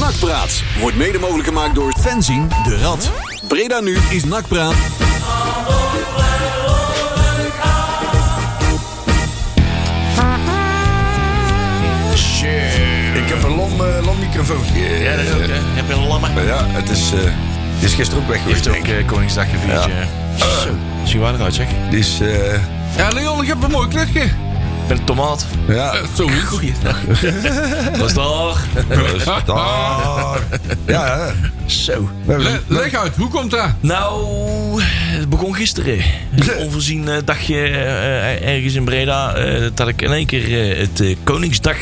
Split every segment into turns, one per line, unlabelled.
Nakpraat wordt mede mogelijk gemaakt door Fenzin de Rad. Breda nu is Nakpraat.
Ik heb een lam, eh, lam microfoontje.
Ja, dat ook, hè. Heb je een lamme?
Ja, het is, eh, die is gisteren ook weg geweest.
Heeft ook
denk ik.
eh, Koningsdag gevierd.
Ja.
Ja. Zo, zie je waar eruit, zeg. Ik
Die is, eh,
Ja, Leon, ik heb een mooi klusje.
ben een tomaat. Eh,
ja,
Zo goed.
Goeiedag. Was daar.
daar. Ja, hè.
Zo.
we hebben
Le-
een-
Leg uit, hoe komt dat?
Nou, het begon gisteren. Een onvoorzien eh, dagje eh, ergens in Breda. eh, dat ik in één keer eh, het eh, Koningsdag.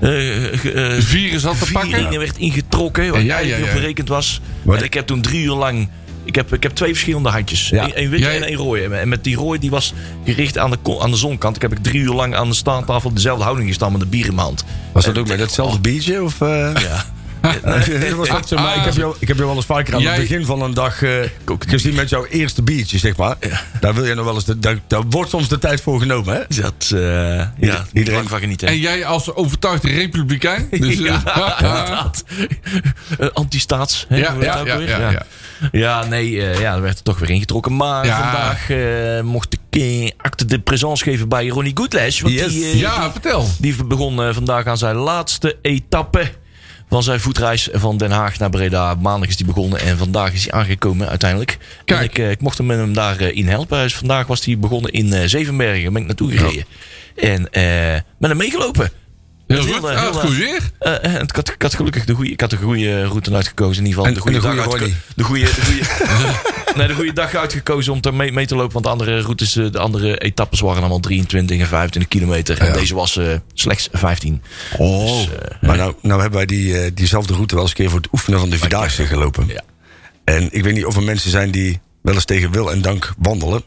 eh ge- eh,
Virus had te
vieringen
pakken.
werd ingetrokken. Wat
Ja, ja,
eigenlijk
ja.
op berekend was.
Wat?
En ik heb toen drie uur lang. Ik heb, ik heb twee verschillende handjes.
Ja.
Eén één witte
Jij-
en één rode. En met die rode die was gericht aan de, ko- aan de zonkant. Ik heb ik drie uur lang aan de staantafel dezelfde houding gestaan met de bier in mijn hand.
Was dat ook met hetzelfde biertje? Of, eh?
eh, oh. Ja.
Het was echt zo, maar ik, heb jou, ik heb jou wel eens vaker aan
Jij-
het begin van een dag eh, gezien met jouw eerste biertje, zeg maar. Daar, wil je nog wel eens de, daar, daar wordt soms de tijd voor genomen, hè?
Dat, eh ja, iedereen
iedereen-
lang van genieten.
En jij als overtuigd republikein. Dus, eh,
ja, inderdaad. Eh, Antistaats. Hè,
Ja,
hoe heet
ja,
dat ook
ja,
weer?
ja, ja.
Ja, nee, eh, ja, er werd er toch weer ingetrokken. Maar
Ja.
vandaag eh, mocht ik eh, acte de présence geven bij Ronnie Goodles. Want
Yes.
die, eh,
ja, vertel.
die begon eh, vandaag aan zijn laatste etappe van zijn voetreis van Den Haag naar Breda. Maandag is die begonnen en vandaag is hij aangekomen uiteindelijk.
Kijk.
En ik, eh, ik mocht hem, met hem daarin in helpen. Hij is- vandaag was hij begonnen in eh, Zevenbergen. Daar ben ik naartoe gereden. En eh met hem meegelopen.
Heel
Dat is
goed.
heel,
Ah,
heel,
het goed weer.
Eh, eh, ik, had, ik had gelukkig de goede, ik had de goede route uitgekozen. In ieder geval
En-
de goede
en de
dag
goede
uitge- de goede, de goede, nee, de goede dag uitgekozen om daar mee, mee te lopen. Want de andere routes, eh, de andere etappes waren allemaal 23 en 25 kilometer. En deze was eh, slechts 15.
Oh, maar nou, nou hebben wij die, eh, diezelfde route wel eens een keer voor het oefenen van de Vierdaagse gelopen.
Ja.
En ik weet niet of er mensen zijn die wel eens tegen wil en dank wandelen.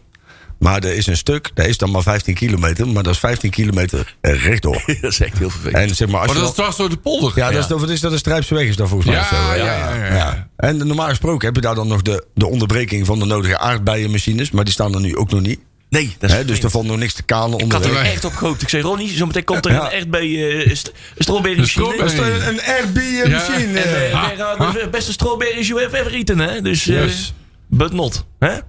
Maar er is een stuk, dat is dan maar 15 kilometer, maar dat is 15 kilometer eh, rechtdoor.
dat is echt heel vervelend.
En zeg maar, als
Maar
je
dat is
dan-
dwars door de polder.
ja, dat is, wat is dat een strijpse weg is dat volgens mij.
Ja,
of zo, hè?
ja, ja, ja, ja.
En normaal gesproken heb je daar dan nog de, de onderbreking van de nodige aardbeienmachines, maar die staan er nu ook nog niet.
Nee, dat is
Hè, dus er valt nog niks te kanen
Ik had
onderweg.
er
onderweg.
echt op gehoopt. Ik zei, Ronnie, zometeen komt er
Ja.
een RB eh st strawberry
Een
machine.
strawberry.
Dat is Een Airbnb-machine.
En eh,
Ah,
wij gaan de beste strawberries you have ever eaten. Hè? Dus, eh,
Yes.
but not. Hè?
Ja.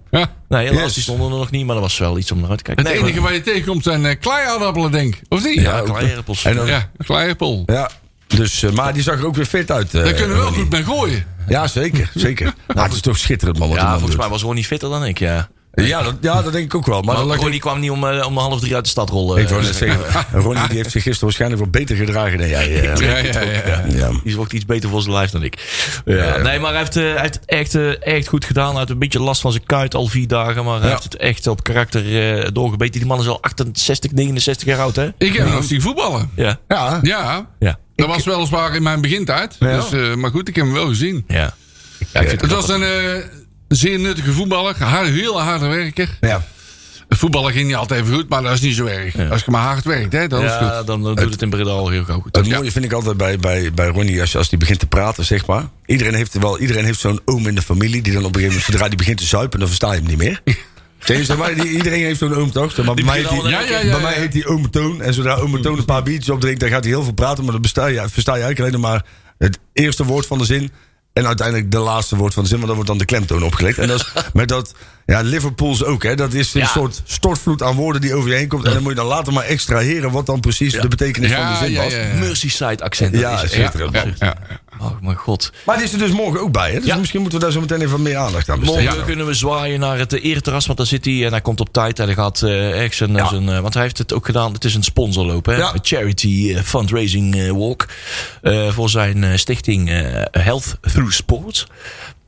Nee, helaas,
Yes.
die stonden er nog niet. Maar dat was wel iets om naar uit te kijken.
Het
Nee,
enige waar je tegenkomt zijn eh kleiaardappelen, denk ik. Of niet?
Ja,
ook.
kleiappels.
En dan-
Ja, kleiappel.
Ja, dus, eh, maar die zag er ook weer fit uit. eh,
Daar kunnen we wel
Ronnie.
goed mee gooien.
Ja, zeker. zeker. Maar het is toch schitterend, man. Wat
Ja,
ja,
volgens mij was Ronnie fitter dan ik, ja.
Ja dat, ja, dat denk ik ook wel. Maar,
Maar
dan lag
Ronnie kwam niet om, eh, om half drie uit de stad rollen.
ik wou net zeggen, Ronnie die heeft zich gisteren waarschijnlijk wel beter gedragen dan jij. eh.
Ja, ja, ja.
Ja.
Die wordt iets beter voor zijn lijf dan ik. Ja, nee, maar hij heeft, eh, hij heeft het echt, eh, echt goed gedaan. Hij heeft een beetje last van zijn kuit al vier dagen. Maar hij heeft het echt op karakter eh, doorgebeten. Die man is al 68, 69 jaar oud, hè?
Ik heb nog zien voetballen.
Ja.
ja.
Ja.
Ja.
Dat was weliswaar in mijn begintijd.
Ja.
Dus, eh, maar goed, ik heb hem wel gezien.
Ja.
Het was een eh, zeer nuttige voetballer. Haar, heel harde werker.
ja.
Voetballen ging niet altijd even goed, maar dat is niet zo erg. Als je maar hard werkt, hè, dat is goed.
Ja, dan eh, doet het in Breda al heel gauw goed.
Het mooie vind ik altijd bij, bij, bij Ronnie, als, als die begint te praten, zeg maar. Iedereen heeft, wel, iedereen heeft zo'n oom in de familie die dan op een gegeven moment, zodra die begint te zuipen, dan versta je hem niet meer. Zeg je, zeg maar, die- iedereen heeft zo'n oom toch? Zeg maar, bij mij heet
begint
die,
al-
Ja, ja, ja.
bij mij heet die oom Toon. En zodra oom Toon een paar biertjes opdrinkt, dan gaat hij heel veel praten. Maar dan besta je, versta je eigenlijk alleen nog maar het eerste woord van de zin. En uiteindelijk de laatste woord van de zin, want dan wordt dan de klemtoon opgelegd. En dat is met dat, ja, Liverpools ook, hè. Dat is een
Ja.
soort stortvloed aan woorden die over je heen komt. En dan moet je dan later maar extraheren wat dan precies de betekenis van de zin was.
Merseyside accent.
Ja,
dat is
zeker.
echt...
Ja,
Ja.
ja, ja.
Oh, mijn god.
Maar die is er dus morgen ook bij, hè? Dus
Ja.
misschien moeten we daar zo meteen even wat meer aandacht aan besteden.
Morgen Dus kunnen we zwaaien naar het eh, ereterras, want daar zit hij en hij komt op tijd. En hij gaat eh, echt zijn, zijn, eh, want hij heeft het ook gedaan. Het is een sponsorloop, hè?
Ja.
Een charity eh, fundraising eh, walk eh, voor zijn eh, stichting eh, Health Through Sport.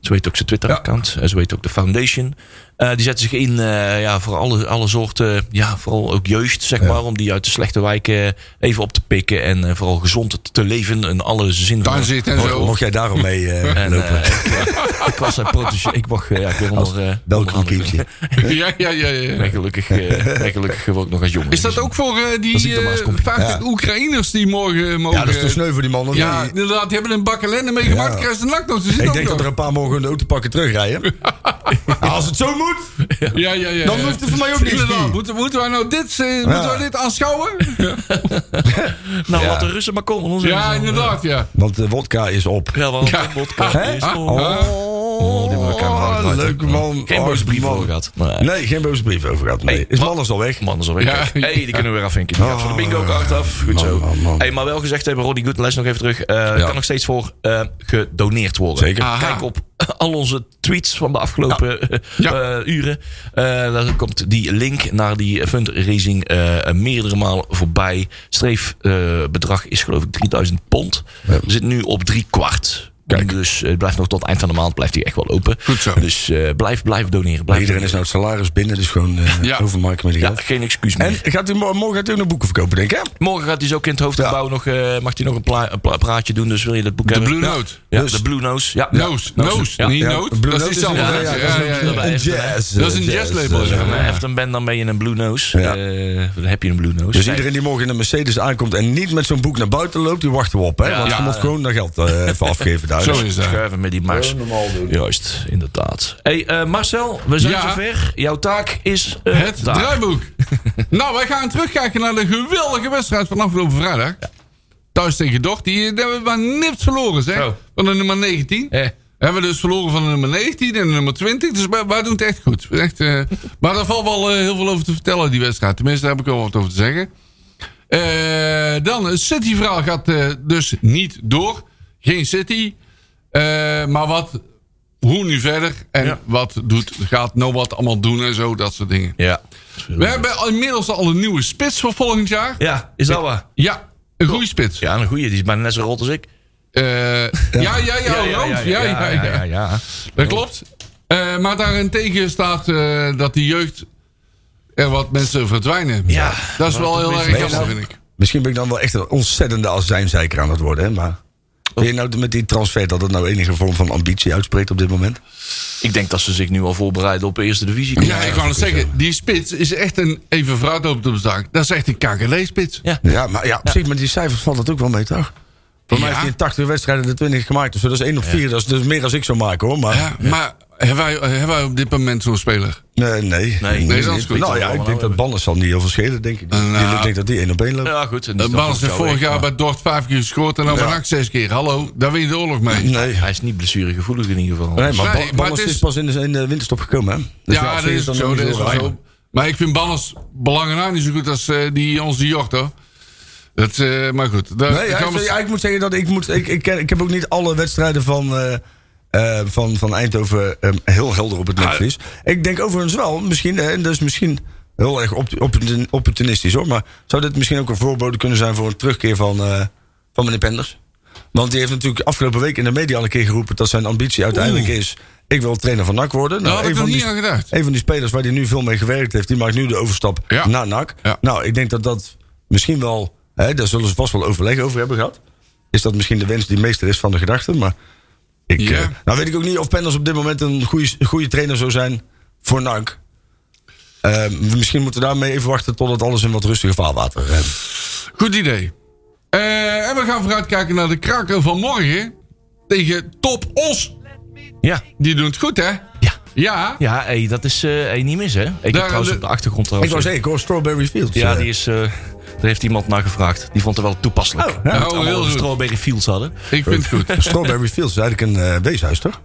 Zo heet ook zijn Twitter-account, en zo heet ook de foundation. Eh, die zetten zich in eh, ja, voor alle, alle soorten, ja, vooral ook jeugd, zeg maar, om die uit de slechte wijken eh, even op te pikken en eh, vooral gezond te leven in alle zin van
Tuin zit en
nou, Mocht-
zo.
Mocht jij daarom mee eh,
en,
lopen?
eh, ik, ik was zijn protege. Ik mocht, eh, ja, ik ben onder... eh, onder
Welkom,
andere-
kindje.
Ja, ja, ja,
Ik
ja.
ben gelukkig, eh, ben gelukkig ook nog als jongen.
Is dat ook voor eh,
ik
die
de baas
eh,
kom.
50 Oekraïners die morgen mogen...
Ja, dat is te sneu voor die man. of
Ja,
niet?
inderdaad, die hebben een bak ellende meegemaakt.
Ja.
Krijgen ze de nacht nog. Ze zitten
ik
ook
denk dat
nog.
er een paar morgen hun auto pakken terugrijden. Ah, als het zo moet,
Ja, ja, ja.
dan
ja.
hoeft het voor mij ook niks.
Inderdaad, moeten, moeten wij nou dit, eh, moeten wij dit aanschouwen?
Nou, laat de Russen maar komen. ons
Ja,
even-
inderdaad, ja.
Want de wodka is op.
Ja, want
Ja.
de podcast
Hè?
is
Ah,
vol.
Oh,
die wordt camera
oh,
uitgeleid.
leuk man.
Geen
Oh,
boze brief
man.
over gehad. Nee.
Nee, geen boze brief over gehad. Nee.
Hey,
is
wat-
alles al weg?
Man, dat is alweer
Ja.
kijk. hey, die kunnen we weer afvinken. Die gaat voor de bingo ook hard af. Goed zo.
man, man.
Hey, maar wel gezegd hebben, Roddy Good, les nog even terug. Eh Kan nog steeds voor eh, gedoneerd worden.
Zeker.
Aha.
Kijk op al onze tweets van de afgelopen
Ja.
eh, uren. Eh, daar komt die link naar die fundraising eh, meerdere malen voorbij. Streefbedrag is geloof ik 3000 pond. We zitten nu op drie kwart.
Kijk.
Dus eh, het blijft nog tot het eind van de maand blijft die echt wel open.
Goed zo.
Dus eh, blijf, blijf doneren. Blijf
Iedereen is nou het salaris binnen, dus gewoon eh
Ja.
overmaken met die
doneren.
geld.
ja, geen excuus meer.
En gaat u, mo- morgen gaat u ook nog boeken verkopen, denk ik, hè?
Morgen gaat hij zo ook in het hoofdgebouw nog, eh, mag hij nog een, pla- een pla- praatje doen. Dus wil je dat boek
De
hebben?
Blue
ja.
Note.
Ja,
Dus-
de Blue Nose. Ja.
Noos, noos,
Ja.
niet
Ja,
noot.
Blue
Dat is
Note is
hetzelfde.
een-
hè?
ja, dat is
Ja, ja,
een-
ja, ja.
Een jazz,
Dat is een jazzlabel,
eh,
zeg
Als
maar.
je Echt een band, dan ben je een Blue Nose.
Ja.
Eh, dan heb je een Blue Nose.
Dus
Nee.
iedereen die morgen in een Mercedes aankomt en niet met zo'n boek naar buiten loopt, die wachten we op, hè?
Ja.
Want
Ja.
je moet gewoon dat geld eh, even afgeven daar.
Zo
Dus-
is dat.
Schuiven met die mars. Juist, inderdaad. Hey, eh, Marcel, we zijn
Ja.
zover. Jouw taak is eh,
Het
daar.
draaiboek. nou, wij gaan terugkijken naar de geweldige wedstrijd van afgelopen vrijdag. Thuis tegen Doch. Die eh, hebben we maar nipt verloren, zeg.
Oh.
Van de nummer 19.
Eh.
Hebben we dus verloren van de nummer 19 en de nummer 20. Dus wij, wij doen het echt goed. Echt, eh, maar daar valt wel eh, heel veel over te vertellen, die wedstrijd. Tenminste, daar heb ik wel wat over te zeggen. Eh, dan, het City-verhaal gaat eh, dus niet door. Geen City. Eh, maar wat, hoe nu verder? En
Ja.
wat doet, gaat Nobad allemaal doen en zo, dat soort dingen.
Ja.
We hebben al- inmiddels al een nieuwe spits voor volgend jaar.
Ja, is dat waar?
Ja, een goede spits.
Ja, een goeie. Die is bijna net zo rot als ik.
Eh, ja, ja, ja, rood. Ja, ja, ja,
ja, ja.
Dat klopt. Eh, maar daarentegen staat eh, dat die jeugd er wat mensen verdwijnen.
Ja,
dat is wel
dat
heel
is
erg
best
jammer,
wel.
vind ik.
Misschien ben ik dan wel echt een ontzettende azijnzeiker aan het worden, hè? Maar ben je nou met die transfer dat dat nou enige vorm van ambitie uitspreekt op dit moment?
Ik denk dat ze zich nu al voorbereiden op de eerste divisie.
Ja, ik wou het zeggen. Die spits is echt een, even vooruit op de zaak. Dat is echt een KKD-spits.
Ja.
Ja, maar ja, op zich met die cijfers valt dat ook wel mee, toch? Voor mij
Ja.
heeft hij in 80 wedstrijden de 20 gemaakt. Dus dat is 1 op 4. Dat is dus meer als ik zou maken, hoor. Maar
Ja, maar hebben wij, hebben wij op dit moment zo'n speler?
nee, nee.
Nee,
dat is goed.
Nou ja, ik denk dat Banners zal niet heel veel schelen, denk ik.
Nou.
ik denk dat die 1 op 1 loopt.
Ja, goed. en dat
Uh,
is
Barnes
dan
heeft vorig
jouw
jaar
werk,
bij Dort vijf keer gescoord en dan van NAC zes keer. Hallo, daar win je de oorlog mee.
Nee.
maar Hij is niet blessuregevoelig in ieder geval.
Nee, maar
Nee,
Ba-
maar
Banners
het is-
is... pas in de, in de winterstop gekomen, hè? Dus
ja,
op
dat
zich
is
dan
zo.
nog
Dat
niet
is wel
heel
zo.
raar.
Maar ik vind Banners belangrijk niet zo goed als eh, die onze jocht, hoor. Dat, eh, maar goed. Daar,
Nee,
daar
ja,
gaan
ik,
we-
ja, ik moet zeggen dat ik moet. Ik, ik, ken- ik heb ook niet alle wedstrijden van, eh, eh, van, van Eindhoven eh, heel helder op het
Ah,
netvlies. Ik denk overigens wel, misschien, eh, en dat is misschien heel erg opt- opportun- opportunistisch hoor. Maar zou dit misschien ook een voorbode kunnen zijn voor een terugkeer van, eh, van meneer Penders? Want die heeft natuurlijk afgelopen week in de media al een keer geroepen dat zijn ambitie uiteindelijk is. Ik wil trainer van NAC worden. Nou,
Daar Nou, had
een
ik
van
nog niet
die-
aan gedacht.
een van die spelers waar hij nu veel mee gewerkt heeft, die maakt nu de overstap
Ja.
naar NAC.
Ja.
Nou, ik denk dat dat misschien wel, hè, daar zullen ze vast wel overleg over hebben gehad. Is dat misschien de wens die meester is van de gedachte, maar ik,
Ja.
eh, nou weet ik ook niet of Penders op dit moment een goede, goede trainer zou zijn voor NAC. Eh, misschien moeten we daarmee even wachten totdat alles in wat rustiger vaarwater eh,
Goed idee. Eh, en we gaan vooruitkijken naar de kraker van morgen. Tegen Top Os.
Ja,
Die doen het goed, hè?
ja.
Ja.
ja hey, dat is eh hey, niet mis, hè? Ik heb
Daar-
trouwens
de-
op de
Ik
achtergrond trouwens... eh,
wou zeggen, ik hoor Strawberry Fields.
ja,
eh.
die is, eh, daar heeft iemand naar gevraagd. Die vond het wel toepasselijk.
Oh, ja.
Dat we het
Oh,
allemaal
heel
over
goed.
Strawberry Fields hadden.
Ik vind het goed.
Strawberry Fields is eigenlijk een eh, weeshuis, toch?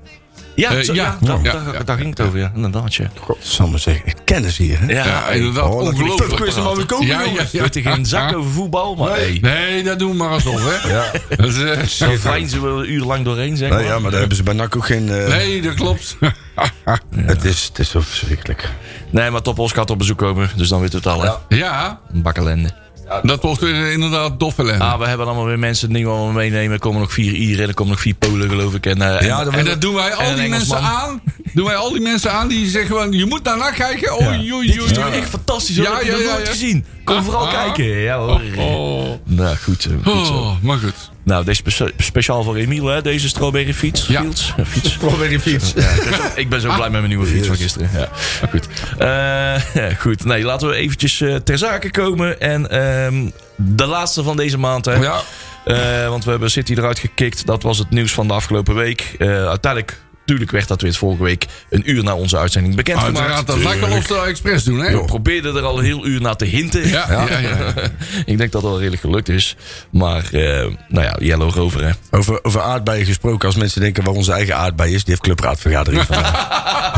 Ja,
Eh,
zo-
ja.
ja, daar,
Ja.
daar- daar ging het over, ja. Inderdaad, ja.
God, zal maar zeggen. Kennis hier, hè?
Ja,
Ja,
hey,
inderdaad.
Oh, laat die
Ongelooflijk.
pubquiz er maar weer komen,
Ja, ja,
jongens.
ja.
weet er geen zak over voetbal, maar hey,
Nee, dat doen we maar alsof, hè? Ja. Dat is, eh,
zo fijn ze wel een uur lang doorheen, zeg maar.
Nou ja, maar daar hebben ze bij NAC ook geen... eh,
Nee, dat klopt.
het, is, het is zo verschrikkelijk.
Nee, maar Top Os gaat op bezoek komen, dus dan weer totaal, hè.
ja,
Een bakkelende.
dat wordt weer inderdaad dof ellende.
Ah, we hebben allemaal weer mensen die we allemaal meenemen. Er komen nog vier Ieren, er komen nog vier Polen, geloof ik. En, eh,
Ja,
en-
dat
En dat doen wij
En
al
een
die mensen
Engelsman.
aan. Doen wij al die mensen aan die zeggen van je moet naar NAC kijken. Oh, joe, joe,
Dit is
joe.
toch echt fantastisch, hoor.
Ja,
Ja, heb je
ja,
nog
ja,
nooit
ja.
gezien. Kom
Ah,
vooral
ah.
kijken. Ja, hoor.
Oh.
Nou, goed, eh, goed zo.
Oh, maar goed.
Nou, deze spe- speciaal voor Emiel, hè? Deze strawberry fiets.
Ja.
Fields? Eh, fiets.
Strawberry Fields.
Ik ben zo blij met mijn nieuwe fiets van gisteren. Ja. Goed. Eh, ja, goed. Nee, laten we eventjes eh, ter zake komen. En ehm, de laatste van deze maand, hè?
Oh Ja,
Eh, want we hebben City eruit gekikt. Dat was het nieuws van de afgelopen week. Eh, uiteindelijk Tuurlijk werd dat weer vorige week een uur na onze uitzending
Uiteraard,
bekendgemaakt.
dat lijkt wel of ze dat expres doen, hè?
We probeerden er al een heel uur naar te hinten.
Ja, ja, ja. ja.
Ik denk dat dat wel redelijk gelukt is. Maar, eh, nou ja, Yellow Rover, hè.
Over, over aardbeien gesproken, als mensen denken waar onze eigen aardbei is, die heeft clubraadvergadering vandaag.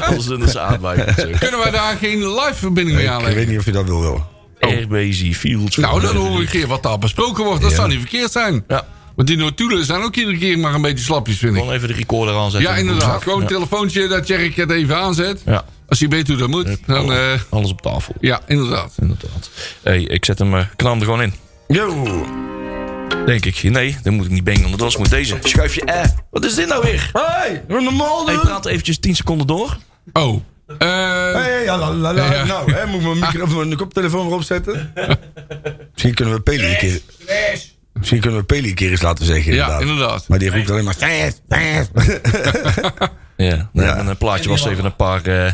Anders dan is ze aardbeien natuurlijk.
Kunnen wij daar geen live verbinding mee
Ik
aanleggen?
weet niet of je dat wil. hoor.
Airbase, Fields.
Nou, dan hoor ik een keer wat daar besproken wordt. Dat zou niet verkeerd zijn.
Ja.
Want die notulen zijn ook iedere keer maar een beetje slapjes, vind ik.
Gewoon even de recorder aanzetten.
Ja, inderdaad. Gewoon een telefoontje dat Jerry het even aanzet.
Ja.
Als hij weet hoe dat moet, dan... eh,
Alles op tafel.
ja, inderdaad.
Inderdaad. Hey, ik zet hem, eh, knal hem er gewoon in.
Yo!
Denk ik. Nee, dan moet ik niet bengen onder de das. Moet deze. Schuif je eh. Wat is dit nou weer?
Hey, normaal
Hey, praat eventjes 10 seconden door.
Oh. Eh
Hey, ja, la, la, la.
Ja.
Nou, hè, moet ik mijn, micro, of mijn koptelefoon erop zetten? Misschien kunnen we Peli een keer... Misschien kunnen we Peli een keer eens laten zeggen,
ja,
inderdaad.
inderdaad.
Maar die roept alleen maar... "Sijs, sijs."
Ja. Nee, en Een plaatje was even een paar... eh,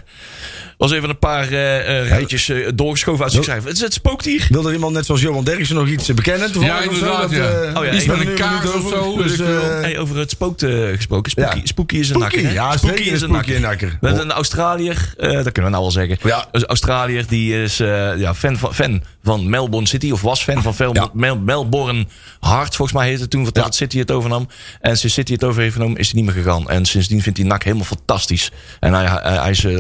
was even een paar eh, eh, rijtjes eh, doorgeschoven uit zichzelf. Het is het spookdier.
Wil er iemand net zoals Johan Derksen nog iets bekennen? Toevallig
Ja,
of zo?
inderdaad, ja.
eh,
Oh ja,
iets
ik-
met
een kaars
minuut
of
over.
zo,
Dus,
weet ik veel.
eh,
Hey, over het spook eh, gesproken. Spooky,
Ja.
spooky is een
Spooky,
nakker. hè?
ja,
spooky
zeker
is een
spooky
nakker.
een nakker.
We hebben een Australiër, eh, dat kunnen we nou al zeggen.
Ja.
Een Australiër die is eh, ja, fan, van, fan van Melbourne City. Of was fan van Fel-
Ja.
Mel- Melbourne Heart, volgens mij heette het toen. Voordat
Ja.
City het overnam. En sinds City het over heeft genomen is hij niet meer gegaan. En sindsdien vindt hij NAC helemaal fantastisch. En hij, hij, hij is eh,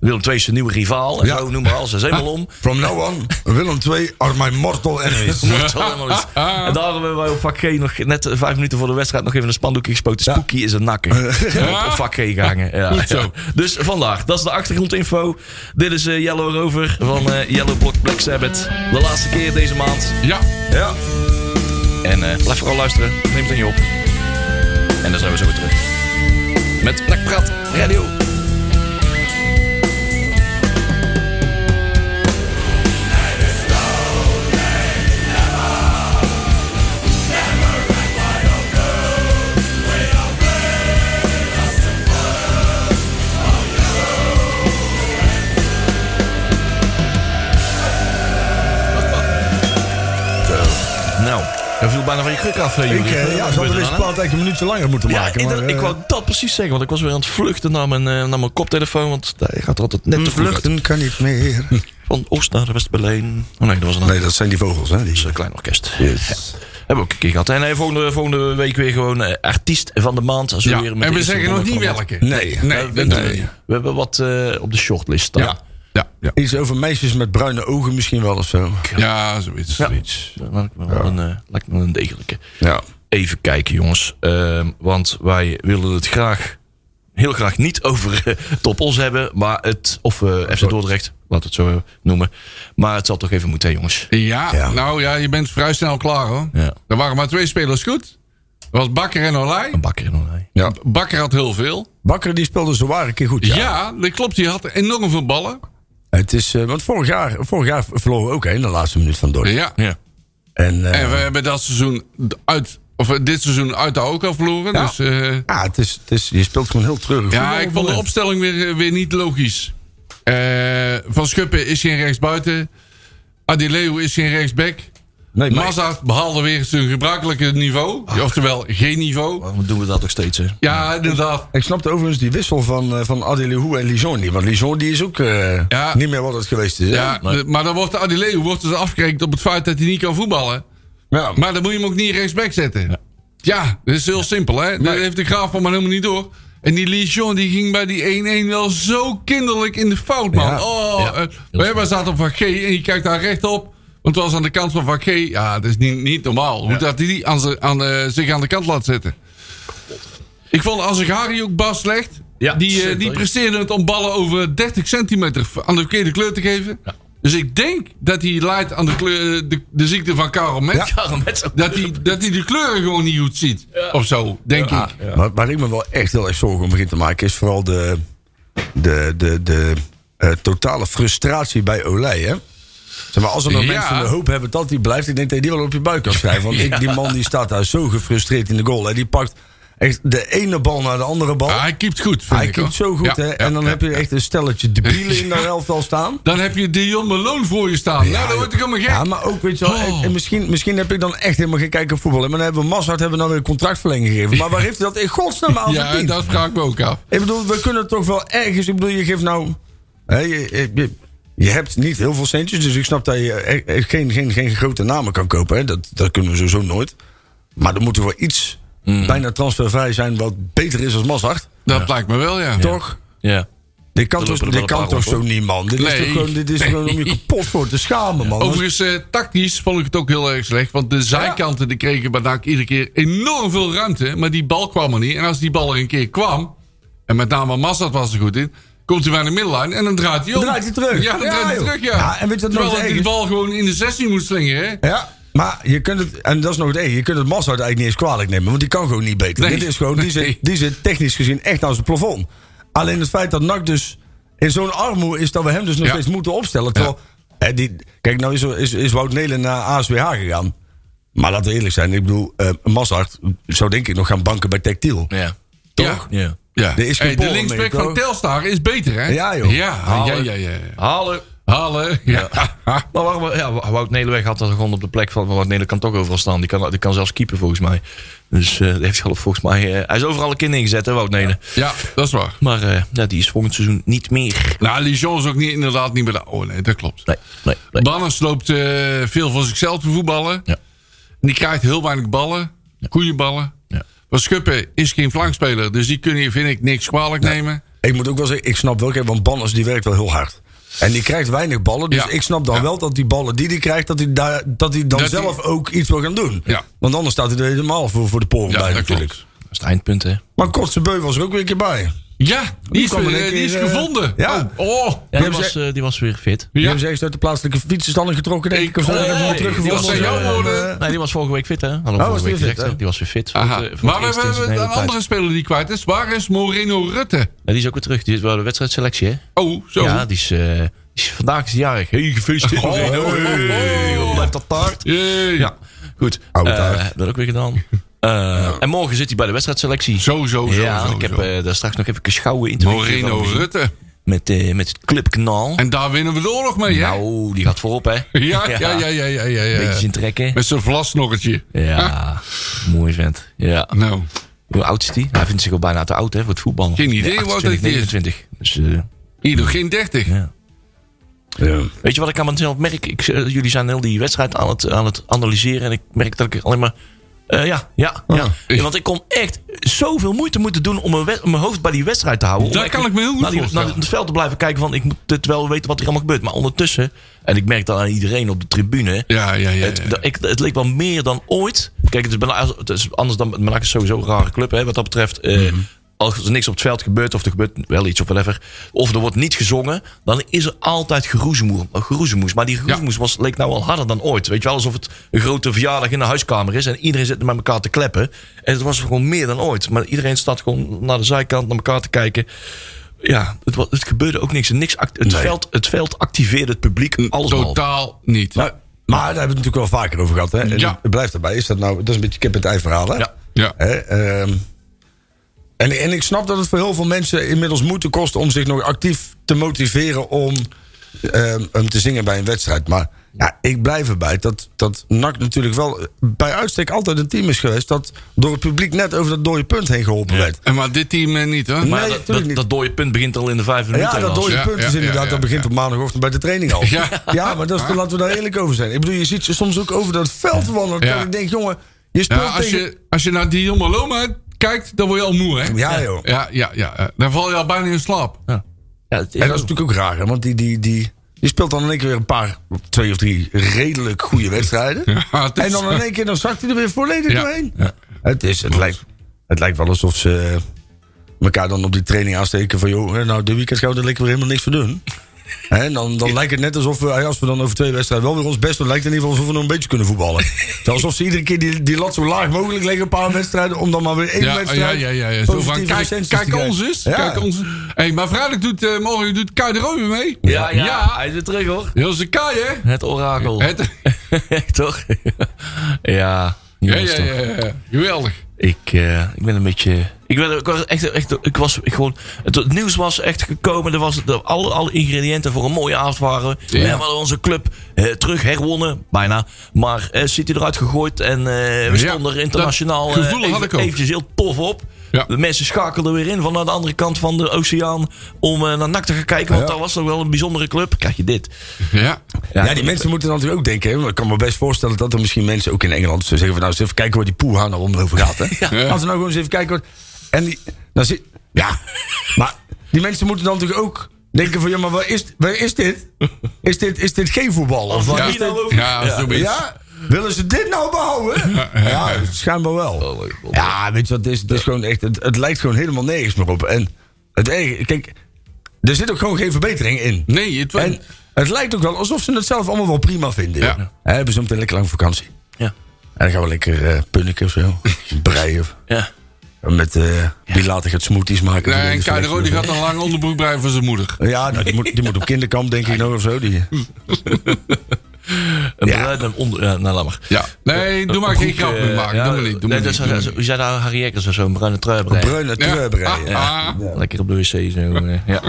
Willem II zijn nieuwe rivaal. En
Ja.
zo, noem maar alles. Hij is helemaal om.
From now on, Willem II are my mortal enemies.
Het zal helemaal niet. En daarom hebben wij op vak G nog net vijf minuten voor de wedstrijd nog even een spandoekje gespoten. Spooky is een nakker. Op vak G gehangen. Ja.
Goed zo.
Dus vandaag, dat is de achtergrondinfo. Dit is eh, Yellow Rover van eh, Yellow Block Black Sabbath. De laatste keer deze maand.
Ja.
ja.
En eh, blijf vooral luisteren. Neem het aan je op. En dan zijn we zo weer terug. Met Nakprat Radio. Nou, dat viel bijna van je kruk af, eh,
Ik
Juri.
eh, ja,
Wat
zou
gebeurt
wel
er
eens
dan, hè?
plaat eigenlijk een minuutje langer moeten
Ja,
maken.
inderdaad,
maar, eh,
ik wou dat precies zeggen, want ik was weer aan het vluchten naar mijn, eh, naar mijn koptelefoon. Want daar gaat er altijd net te vroeg uit.
Vluchten kan niet meer.
Van Oost naar West-Berlijn. Oh nee, dat was een
Nee, dat zijn die vogels, hè? Die...
een klein orkest.
Yes.
Hebben we ook een keer gehad. En eh, volgende, volgende week weer gewoon eh, artiest van de maand. Als we
ja.
weer met
En
de
we
eerste
zeggen nog
ronde
niet
van-
welke.
Nee.
Nee,
We,
dat doen we niet.
we hebben wat eh, op de shortlist staan.
Ja. Ja. Ja.
Iets over meisjes met bruine ogen misschien wel of zo.
Ja, zoiets. zoiets.
Dat lijkt me wel een, eh, lijkt me wel een degelijke.
Ja.
Even kijken, jongens. Ehm, want wij willen het graag, heel graag niet over eh, Top Os hebben. Maar het, of eh FC Dordrecht, laten we het zo eh, noemen. Maar het zal toch even moeten, hè, jongens.
Ja,
Ja.
nou ja, je bent vrij snel klaar hoor.
Ja.
Er waren maar twee spelers goed. Dat was Bakker en Olij.
Een bakker in Olij.
ja.
Bakker had heel veel.
Bakker die speelde zo waar een keer goed.
Ja,
Ja.
dat klopt. Die had enorm veel ballen.
Het is, eh, want vorig jaar, vorig jaar verloren we ook hè, in de laatste minuut van Dordrecht.
Ja.
Ja.
En, eh,
En we hebben dat seizoen uit, of eh, dit seizoen uit de ook al verloren.
Ja.
Dus eh,
ah, het is, het is, je speelt gewoon heel treurig.
ja,
voetbal
ik vond de
voetbal.
opstelling weer, eh, weer niet logisch. Eh, Van Schuppen is geen rechtsbuiten. Adileu is geen rechtsback.
Nee, maar-
Mazart behaalde weer zijn gebruikelijke niveau. Oftewel, geen niveau.
Waarom doen we dat nog steeds, hè?
Ja, inderdaad.
Ik snapte overigens die wissel van, eh, van Adelehou en Lijon niet. Want Lijon die is ook eh,
Ja.
niet meer wat het geweest is. hè?
Ja, de- maar dan wordt Adileu wordt dus afgerekend op het feit dat hij niet kan voetballen.
Ja.
Maar dan moet je hem ook niet rechtsback zetten. Ja, dat is heel simpel, hè? Dat heeft de graaf van maar helemaal niet door. En die Lijon die ging bij die 1-1 wel zo kinderlijk in de fout, man.
Ja.
Oh,
Ja.
eh, we hebben zaten op Van G en je kijkt daar rechtop. Want het was aan de kant van Van G. Ja, dat is niet, niet normaal. Hoe dat hij die aan ze- aan, eh, zich aan de kant laat zetten. Ik vond Azegari ook bas slecht.
Ja,
die, eh,
zeker.
die presteerde het om ballen over 30 centimeter aan de verkeerde kleur te geven. Dus ik denk dat hij leidt aan de, kleur, eh, de, de ziekte van Karel Metz.
Karel Metz.
Dat hij, dat hij de kleuren gewoon niet goed ziet. Of zo, denk
Ah,
ik.
Maar, waar ik me wel echt heel erg zorgen om begin te maken... is vooral de, de, de, de eh, totale frustratie bij Olij, hè? Zeg maar, als er nog
Ja.
mensen de hoop hebben dat hij blijft... ik denk dat je die wel op je buik kan schrijven. Want ik, die man die staat daar zo gefrustreerd in de goal. Hè? Die pakt... echt de ene bal naar de andere bal.
Ah, hij keept goed, vind
hij
ik, hoor.
keept zo goed,
Ja,
hè.
ja,
en dan
ja.
heb je echt een stelletje debielen in de elftal staan.
Dan heb je Dion Malone voor je staan. nou, dan word ik helemaal gek.
Ja, maar ook, weet je wel,
Oh.
en- en misschien, misschien heb ik dan echt helemaal geen kijk op voetbal. hè. Maar dan hebben we Mazhart hebben we dan weer een contractverlenging gegeven. Maar waar heeft hij dat in godsnaam aan
ja,
verdiend?
dat vraag ik me ook af.
Ik bedoel, we kunnen toch wel ergens... Ik bedoel, je geeft nou... Hè, je, je- je, je hebt niet heel veel centjes, dus ik snap dat je eh, eh, geen, geen, geen grote namen kan kopen. Hè. Dat, dat kunnen we sowieso nooit. Maar er moet er wel iets bijna transfervrij zijn wat beter is als Mazhart.
Dat lijkt me wel, ja.
Toch?
Ja.
Dit kan
Er
toch,
lopen er wel
dit
een
kan
paar
toch
rond,
zo niet, man? Dit is
Nee.
toch gewoon, dit is gewoon om je kapot voor te schamen, man.
Overigens, eh, tactisch vond ik het ook heel erg slecht. Want de zijkanten die kregen bij NAC iedere keer enorm veel ruimte. Maar die bal kwam er niet. En als die bal er een keer kwam, en met name Massad was er goed in... Komt hij bij de middenlijn en dan draait hij om.
Dan draait hij terug.
Ja, dan
Ja,
draait hij
joh.
terug, ja.
Ja, en weet je wat nog
Terwijl
het
hij die
erg is?
bal gewoon in de 16 moet slingeren, hè?
Ja. Maar je kunt het, en dat is nog het enige, je kunt het Mazhart eigenlijk niet eens kwalijk nemen, want die kan gewoon niet beter.
Nee.
Dit is gewoon, die,
Nee.
zit, die zit technisch gezien echt aan zijn plafond. Alleen het feit dat NAC dus in zo'n armoe is dat we hem dus nog
Ja.
steeds moeten opstellen. Terwijl, hè, die, kijk, nou is, er- is, is Wout Nelen naar ASWH gegaan. Maar laten we eerlijk zijn, ik bedoel, eh Mazhart zou denk ik nog gaan banken bij Tactiel.
Ja.
Toch?
Ja.
Ja.
Er is geen
Hey, de
bal
linksback
meer,
van
toch?
Telstar is beter, hè?
Ja, joh.
Ja, ja,
Halen.
ja. ja.
Halen.
Halen. Ja.
Maar waarom, ja, Wout Nederweg had dat gewoon op de plek van. Wout Nederweg kan toch overal staan. Die kan, die kan zelfs keeper volgens mij. Dus eh, die heeft zelf volgens mij. eh, hij is overal een kind ingezet, hè, Wout Nederweg.
ja, dat is waar.
Maar eh, ja, die is volgend seizoen niet meer.
Nou, Lijon is ook niet, inderdaad niet meer daar. Oh nee, dat klopt.
Nee, nee, nee.
Banners loopt eh, veel van zichzelf te voetballen.
Ja.
En die krijgt heel weinig ballen. Goede ballen.
Ja.
Maar Schuppen is geen flankspeler. Dus die kun je, vind ik, niks kwalijk nemen.
Ik moet ook wel zeggen, ik snap wel, kijk, want Banners die werkt wel heel hard. En die krijgt weinig ballen. Dus
Ja.
ik snap dan
Ja.
wel dat die ballen die hij krijgt, dat hij, daar, dat hij dan
Dat hij-
zelf ook iets wil gaan doen.
Ja.
Want anders staat hij er helemaal voor, voor de poren
Ja,
bij
dat
natuurlijk.
klopt.
Dat is het eindpunt, hè?
Maar Kotzebeu was er ook weer een keer bij.
Ja, die is,
kwam in één
eh, die is
keer, eh,
gevonden.
ja.
Oh, oh.
Ja, die,
hebben
was, eh, die was weer fit.
Die
Ja.
hebben ze eerst uit de plaatselijke fietsenstalling getrokken, denk ik. Of zo.
Ik-
en hebben ze hem
Nee, die
teruggevonden.
was- zijn jouw woorden.
Nee, die was vorige week fit, hè?
Oh,
Hadden we
was
vorige
die
week
fit,
gezegd,
hè?
hè? Die was weer fit.
Aha.
Voor het, eh, voor
Maar
het
we
eerst in zijn
hebben een
hele tijd.
andere speler die kwijt is. Waar is Moreno Rutte?
Ja, die is ook weer terug. Die is wel de wedstrijdselectie, hè?
Oh, zo.
Ja, die is, eh, die is vandaag is die jarig. Hey, nou. gefeliciteerd.
Oh,
Moreno.
oh, oh.
Hey, wat blijft dat taart?
Jee.
Ja, goed.
Oude
Eh,
taart.
dat ook weer gedaan. Eh, En morgen zit hij bij de wedstrijdselectie.
Zo, zo, zo.
ja,
zo,
ik heb
zo.
eh, daar straks nog even een schouwen interview
Moreno
van gezien.
Rutte.
Met, eh, met het clubkanaal.
En daar winnen we de oorlog mee, hè?
Nou, die gaat voorop, hè?
ja, ja, ja, ja, ja, ja.
Beetje
ja.
zien trekken.
Met zijn vlasnorretje.
Ja, mooi vent. Ja.
Nou,
Hoe oud is die? Hij vindt zich al bijna te oud hè, voor het voetbal.
Geen idee hoe oud
28,
hij is.
29. Dus, eh,
hier nog geen 30.
ja.
Ja.
Weet je wat ik aan mezelf merk? Ik, eh, jullie zijn heel die wedstrijd aan het, aan het analyseren. En ik merk dat ik alleen maar... eh, ja, ja, ja. Ja, Want ik kon echt zoveel moeite moeten doen om mijn, wed- om mijn hoofd bij die wedstrijd te houden. Om
Daar
echt
kan ik me heel goed
naar die-
voorstellen.
Naar het veld te blijven kijken van ik moet dit wel weten wat er allemaal gebeurt. Maar ondertussen, en ik merk dat aan iedereen op de tribune...
Ja, ja, ja.
Het,
ja.
dat- ik, het leek wel meer dan ooit. Kijk, het is, bijna, het is anders dan. Monaco is sowieso een rare club. Hè, wat dat betreft. eh,
Mhm.
Als er niks op het veld gebeurt, of er gebeurt wel iets of whatever. Of er wordt niet gezongen, dan is er altijd geroezemoer- geroezemoes. Maar die geroezemoes was, leek nou al harder dan ooit. Weet je wel, alsof het een grote verjaardag in de huiskamer is. En iedereen zit met elkaar te kleppen. En het was gewoon meer dan ooit. Maar iedereen staat gewoon naar de zijkant, naar elkaar te kijken. Ja, het, wa- het gebeurde ook niks. En niks act- het, veld, het veld activeerde het publiek, alles behalve.
Totaal niet.
Maar, maar daar hebben we het natuurlijk wel vaker over gehad. Hè? En
Ja.
Het blijft erbij. Is dat nou, dat is een beetje kip het ei verhaal. Hè?
Ja.
Ja.
Hè, ehm, en, en ik snap dat het voor heel veel mensen inmiddels moeite kost om zich nog actief te motiveren om ehm, hem te zingen bij een wedstrijd. Maar ja, ik blijf erbij dat, dat NAC natuurlijk wel bij uitstek altijd een team is geweest dat door het publiek net over dat dode punt heen geholpen werd.
En maar dit team eh, niet, hoor.
Nee.
Maar ja, dat,
natuurlijk
dat,
niet.
dat dode punt begint al in de vijfde minuut.
Ja, dat
helaas.
dode
Ja,
punt is
ja,
inderdaad.
ja,
dat
ja,
begint op maandagochtend bij de training al.
Ja.
Ja, maar dat is, laten we daar eerlijk over zijn. Ik bedoel, je ziet ze soms ook over dat veld wandelen.
Ja.
Dat ik denk, jongen, je
Ja,
speelt
als,
tegen...
je, als je naar Dion Maloma kijkt, dan word je al moe, hè?
Ja, joh.
Ja, ja, ja. eh, Dan val je al bijna in slaap.
Ja, het is
En
ook-
dat is natuurlijk ook raar, hè, want die, die, die, die speelt dan in één keer weer een paar, twee of drie redelijk goede wedstrijden.
Ja, het is-
en dan in één keer dan zakt hij er weer volledig
Ja.
doorheen. Het, is, het, lijkt, het lijkt wel alsof ze eh, elkaar dan op die training aansteken van... joh, hè, nou, de weekend gaan we er lekker weer helemaal niks voor doen. Hè, En dan, dan lijkt het net alsof we, eh, als we dan over twee wedstrijden wel weer ons best doen... lijkt het in ieder geval alsof we nog een beetje kunnen voetballen. Het is Alsof ze iedere keer die, die lat zo laag mogelijk leggen, een paar wedstrijden... om dan maar weer één
Ja, ja,
wedstrijd
ja, ja. ja. Zo van,
positieve
kijk,
recensies te
kijk
krijgen.
ons eens.
Ja.
Kijk ons. Hey, maar vrijdag doet, eh, morgen doet Kai de Roy weer mee.
ja, ja, hij is weer terug hoor.
Heel zijn Kai, hè?
Het orakel.
Het-
Toch? ja.
Ja,
jongens,
ja, ja,
toch.
ja. Geweldig.
Ik, eh, ik ben een beetje. Ik, ben, ik was echt. echt ik was gewoon, het, het nieuws was echt gekomen. Er was, de, alle, alle ingrediënten voor een mooie avond waren.
Ja.
We hebben onze club eh, terug herwonnen. Bijna. Maar eh City eruit gegooid. En eh, we
Ja,
stonden er internationaal
dat gevoel
eh, even-
had ik ook.
eventjes heel tof op.
Ja.
De mensen schakelden weer in van aan de andere kant van de oceaan. Om eh, naar NAC te gaan kijken. Want
Ja.
daar was nog wel een bijzondere club. Krijg je dit.
Ja.
Ja, die mensen moeten dan natuurlijk ook denken. Hè? want Ik kan me best voorstellen dat er misschien mensen ook in Engeland zo zeggen van nou, eens even kijken waar die poeha nou om over gaat. Hè?
Ja.
Laten we nou gewoon eens even kijken. Wat... En die, dan zit, ja, maar die mensen moeten dan natuurlijk ook denken van ja, maar wat is, wat is dit? Is dit, is dit geen voetbal? Of wat
Ja,
is dit?
ja, zoiets.
Ja? Willen ze dit nou behouden? Ja, schijnbaar wel. Ja, weet je wat, het is, het is gewoon echt, het, het lijkt gewoon helemaal nergens meer op. En het erge, kijk, er zit ook gewoon geen verbetering in.
Nee, het was...
En het lijkt ook wel alsof ze het zelf allemaal wel prima vinden.
Ja.
joh. Hè, Hebben ze meteen lekker lang vakantie.
Ja.
En dan gaan we lekker eh punniken of zo. Breien. of-
Ja.
Met eh die later gaat smoothies maken.
Nee,
Van
en
deze
Kai de
van
Rood die
deze.
gaat een lang onderbroek breien voor zijn moeder.
Ja, nou, die, moet, die moet op kinderkamp denk ik nog of zo. Die,
Een
Ja.
bruid en onder. eh, nou, laat maar.
Ja. Nee, doe maar geen
Goed,
grap
eh,
mee maken.
ja,
Doe maar niet. Doe
nee,
maar
dat
niet.
zou-
doe maar
zou- Hoe zei daar nou, Harry Eckers of zo? Een bruine trui breien.
Bruine
niet.
trui breien.
Ah, ah.
Lekker op de wc zo. eh, ja.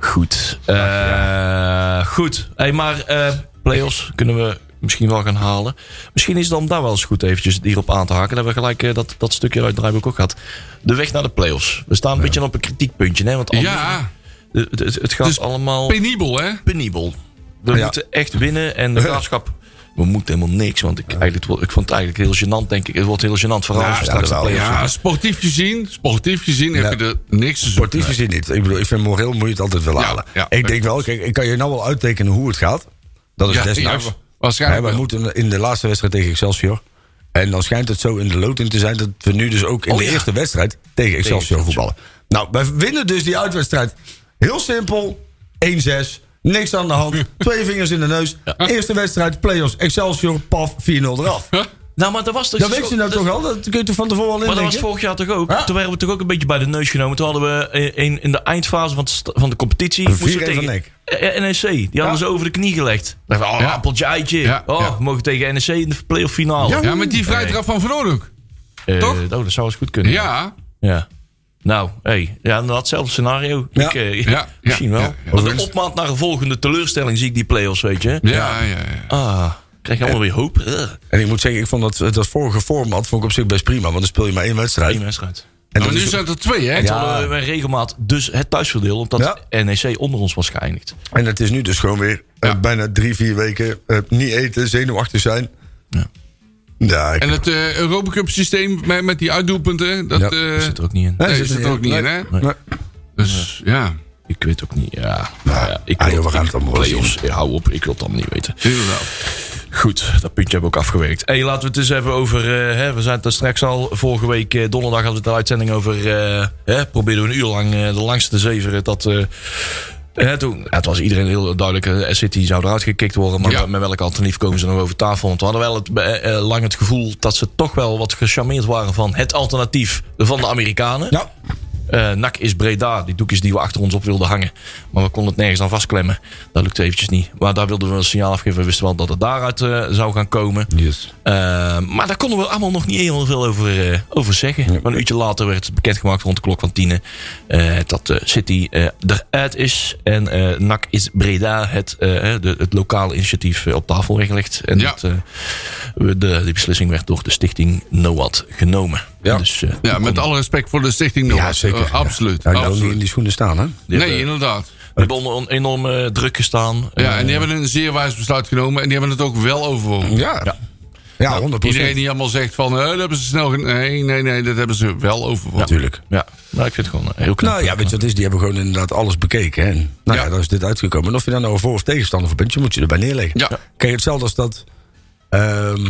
Goed. Eh, Goed. Hey, maar eh play-offs kunnen we misschien wel gaan halen. Misschien is het dan daar wel eens goed eventjes hierop aan te haken. Dan hebben we gelijk eh, dat, dat stukje uit Draaiboek ook gehad. De weg naar de play-offs. We staan een beetje op een kritiekpuntje. Hè? Want anders-
ah. Ja,
het, het, het gaat
Dus
allemaal
penibel hè?
penibel. We
Ja.
moeten echt winnen. En de graafschap... We moeten helemaal niks. Want ik, eigenlijk, het wordt- ik vond het eigenlijk heel gênant, denk ik. Het wordt heel gênant vooral als we
ja,
straks de
dat wel,
play-offs
Ja, sportief gezien, sportief gezien heb je er niks te zoeken.
Sportief gezien niet. Ik bedoel, ik vind moreel moet je het altijd wel
Ja,
halen.
ja.
ik denk wel, kijk, ik kan je nou wel uittekenen hoe het gaat. Dat is
Ja,
desnoods.
ja, waarschijnlijk
Hè, wij
wel.
moeten in de laatste wedstrijd tegen Excelsior. En dan schijnt het zo in de loting te zijn dat we nu dus ook in
Oh,
de
ja.
eerste wedstrijd tegen Excelsior voetballen. Nou, wij winnen dus die uitwedstrijd. Heel simpel. 1-6. Niks aan de hand. Twee vingers in de neus. Eerste wedstrijd, play-offs, Excelsior, paf, 4-0 eraf.
Nou, maar dat was toch...
Dat weet je nou toch al? Dat kun je toch van tevoren al
Maar dat was
indenken?
vorig jaar toch ook?
Ja.
Toen werden we toch ook een beetje bij de neus genomen. Toen hadden we in, in de eindfase van, de st- van de competitie... moesten we
4-1 van NEC.
Eh, NEC. Die hadden ze over de knie gelegd. Dachten we, oh,
Ja.
appeltje, eitje.
Ja,
Oh,
ja.
we mogen tegen NEC in de play-off finale.
Ja, met die vrijtrap van Van Oorlog.
Eh,
toch?
oh, dat zou eens goed kunnen.
Ja,
Ja. Nou, hey, ja, datzelfde scenario.
Ja.
Ik, eh,
Ja, ja,
Misschien wel.
ja, ja.
Maar de opmaat naar een volgende teleurstelling zie ik die play-offs, weet je.
ja, ja. ja. Nou,
Ah, krijg je allemaal weer hoop. Ugh,
En ik moet zeggen, ik vond dat, dat vorige format vond ik op zich best prima. Want dan speel je maar één wedstrijd.
die wedstrijd.
En
Maar
dat
nu
is-
zijn er twee, hè?
Toen hadden we regelmaat dus het thuisverdeel, omdat NEC onder ons was geëindigd.
En het is nu dus gewoon weer eh,
Ja.
bijna drie, vier weken eh, niet eten, zenuwachtig zijn.
Ja.
Ja, ik-
En het eh Europa Cup systeem met, met die uitdoelpunten, dat...
Ja,
eh,
Dat Dus zit er ook niet in.
nee, zit er ook niet in, hè?
Nee.
Nee.
Dus, ja,
Ik weet ook niet. Ja, nou ja, ik
ah,
wil-
joh, we gaan
ik-
het allemaal wel
play-offs. Ja, hou op, ik wil het allemaal niet weten.
inderdaad.
Goed, dat puntje hebben we ook afgewerkt. Hey, laten we het eens hebben over. eh, hè, we zijn het er straks al. Vorige week eh, donderdag hadden we het een uitzending over. eh, hè, probeerden we een uur lang eh, de langste te zeveren. Dat. eh, hè, toen, ja, het was iedereen heel duidelijk. eh, City zou eruit gekikt worden. Maar
Ja.
met welk alternatief komen ze nog over tafel? Want we hadden wel het, eh, eh, lang het gevoel dat ze toch wel wat gecharmeerd waren van het alternatief van de Amerikanen.
Ja.
Eh, NAC is Breda, die doekjes die we achter ons op wilden hangen. Maar we konden het nergens aan vastklemmen. Dat lukte eventjes niet. Maar daar wilden we een signaal afgeven. We wisten wel dat het daaruit eh, zou gaan komen. Eh, maar daar konden we allemaal nog niet heel veel over, eh, over zeggen. Maar een uurtje later werd het bekendgemaakt rond de klok van tienen. eh, dat eh, City eh, eruit is. En eh, NAC is Breda het, eh, de- het lokale initiatief eh, op tafel werd gelegd. En
Ja.
dat, eh, we- de, die beslissing werd door de stichting NOAD genomen.
Ja.
Dus, eh,
Ja, met alle respect voor de stichting nog.
Ja, zeker.
Eh, absoluut.
Ja, ik wil niet in
absoluut.
die schoenen staan, hè?
die
Nee,
hebben-
inderdaad.
We hebben onder een enorme eh, druk gestaan. Eh,
Ja, en die hebben een zeer wijs besluit genomen en die hebben het ook wel
Ja.
overwogen.
Ja, 100
Nou, Iedereen die allemaal zegt van, eh, dat hebben ze snel... gen- Nee, nee, nee, dat hebben ze wel overwogen.
Natuurlijk.
Ja, nou, ik vind het gewoon eh, heel knap.
Nou ja, weet je wat het is? Die hebben gewoon inderdaad alles bekeken. Hè? En, nou ja.
Ja.
dan is dit uitgekomen. En of je daar nou een voor- of tegenstander voor bent, je moet je erbij neerleggen.
Ja.
Kijk, hetzelfde als dat... ehm,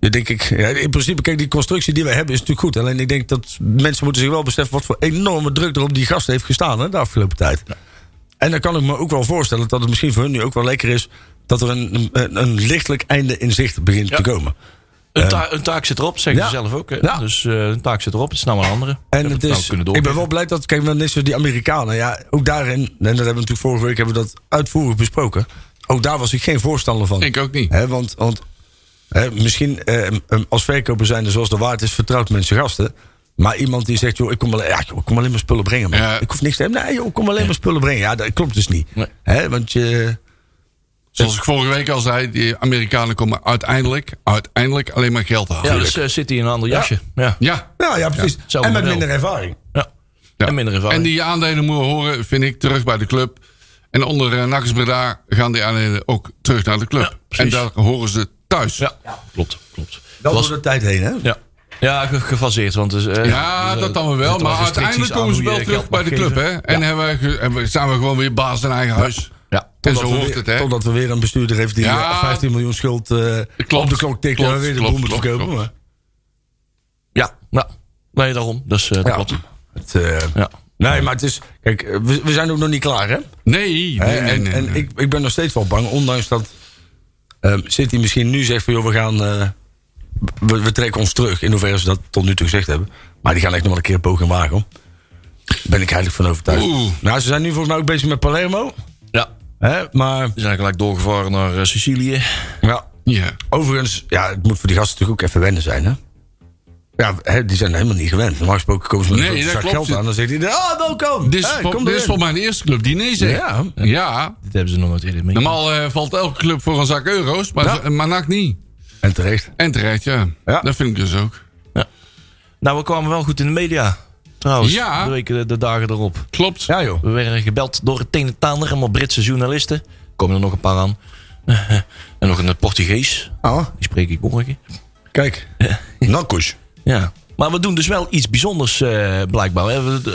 ja, denk ik, ja, in principe, kijk, die constructie die wij hebben is natuurlijk goed. Alleen ik denk dat mensen moeten zich wel beseffen... wat voor enorme druk er op die gast heeft gestaan hè, de afgelopen tijd. En dan kan ik me ook wel voorstellen dat het misschien voor hun nu ook wel lekker is... dat er een, een- een, een lichtelijk einde in zicht begint te komen.
Een, ta- een taak zit erop, zeggen
ja.
ze zelf ook. Hè?
Ja.
Dus eh, een taak zit erop, het is nou een andere. We
En
hebben
het
nou
is,
kunnen
ik ben
doorgeven.
wel blij dat, kijk, dan is er die Amerikanen. Ja, ook daarin, en dat hebben we natuurlijk vorige week hebben we dat uitvoerig besproken. Ook daar was ik geen voorstander van.
Ik ook niet.
Hè, want, want Hè, misschien eh, m- als verkoper zijn, zoals de waard is, vertrouwt men zijn gasten. Maar iemand die zegt, joh, ik kom alleen, ja, joh, ik kom alleen maar spullen brengen. Man.
Ja.
Ik hoef niks te hebben. Nee, joh, ik kom alleen maar spullen brengen. Ja, dat klopt dus niet.
Nee.
Hè, want je...
Zoals ik vorige week al zei, die Amerikanen komen uiteindelijk, uiteindelijk alleen maar geld halen.
Ja, dus eh, zit hij in een ander jasje. Ja.
Ja.
Nou ja, precies.
zo'n
en met
model.
minder ervaring.
Ja.
Ja.
En minder ervaring.
En die aandelen moeten horen, vind ik, terug bij de club. En onder uh, Nakkers Breda gaan die aandelen ook terug naar de club.
Ja, precies.
en daar horen ze thuis.
Ja, klopt, klopt.
Wel
Was-
door de tijd heen, hè?
Ja, ja ge- gefaseerd. Want dus, eh,
Ja,
dus, eh,
dat dan wel wel.
zitten
Maar
wat restricties
uiteindelijk
aan
komen ze
hoe
wel
je
terug
geld
bij de
mag
club.
geven.
Hè? En hebben we ge- hebben we- zijn we gewoon weer baas in eigen huis.
Ja.
En zo
Totdat we
hoort
weer-
het, hè?
Totdat we weer een bestuurder heeft die
Ja.
eh, 15 miljoen schuld eh,
Klopt,
op de klok tikt.
klopt,
en weer de
klopt,
boel moet
klopt,
verkopen.
klopt.
maar
Ja, nou, nee, daarom. Dus, eh, dat
Ja.
klopt.
Het, eh,
Ja.
Nee, maar het is... Kijk, eh, we, we zijn ook nog niet klaar, hè?
Nee,
Hè,
nee, nee.
en
nee,
en
nee.
Ik, ik ben nog steeds wel bang, ondanks dat ehm, City misschien nu zegt van joh, we gaan. eh, we, we trekken ons terug, in hoeverre ze dat tot nu toe gezegd hebben. Maar die gaan echt nog wel een keer een poging wagen. hoor. Daar ben ik eigenlijk van overtuigd.
Oeh.
Nou, ze zijn nu volgens mij ook bezig met Palermo.
Ja,
Hè? Maar
we zijn gelijk doorgevaren naar eh, Sicilië.
ja,
Ja.
overigens, ja, het moet voor die gasten natuurlijk ook even wennen zijn. Hè? Ja, hè, die zijn helemaal niet gewend. Normaal gesproken komen ze met
Nee,
een
dat
zak
klopt.
geld aan. Dan zegt hij, ah, welkom.
Dit is,
Hey,
voor-
kom
dit is
erin."
voor mij de eerste club die nee zegt.
Ja.
Ja.
Dit hebben ze nog nooit eerder mee.
Normaal eh, valt elke club voor een zak euro's, maar,
Ja.
maar NAC niet.
En terecht.
En terecht, ja.
Ja.
Dat vind ik dus ook.
Nou, we kwamen wel goed in de media. Trouwens,
Ja.
de, weken, de, de dagen erop.
Klopt.
Ja joh.
We werden gebeld door het een en ander. Allemaal Britse journalisten. Er komen er nog een paar aan. en nog een Portugees.
Ah,
Die spreek ik morgen.
kijk. Nakkoes.
Ja. Maar we doen dus wel iets bijzonders eh, blijkbaar. hè. We,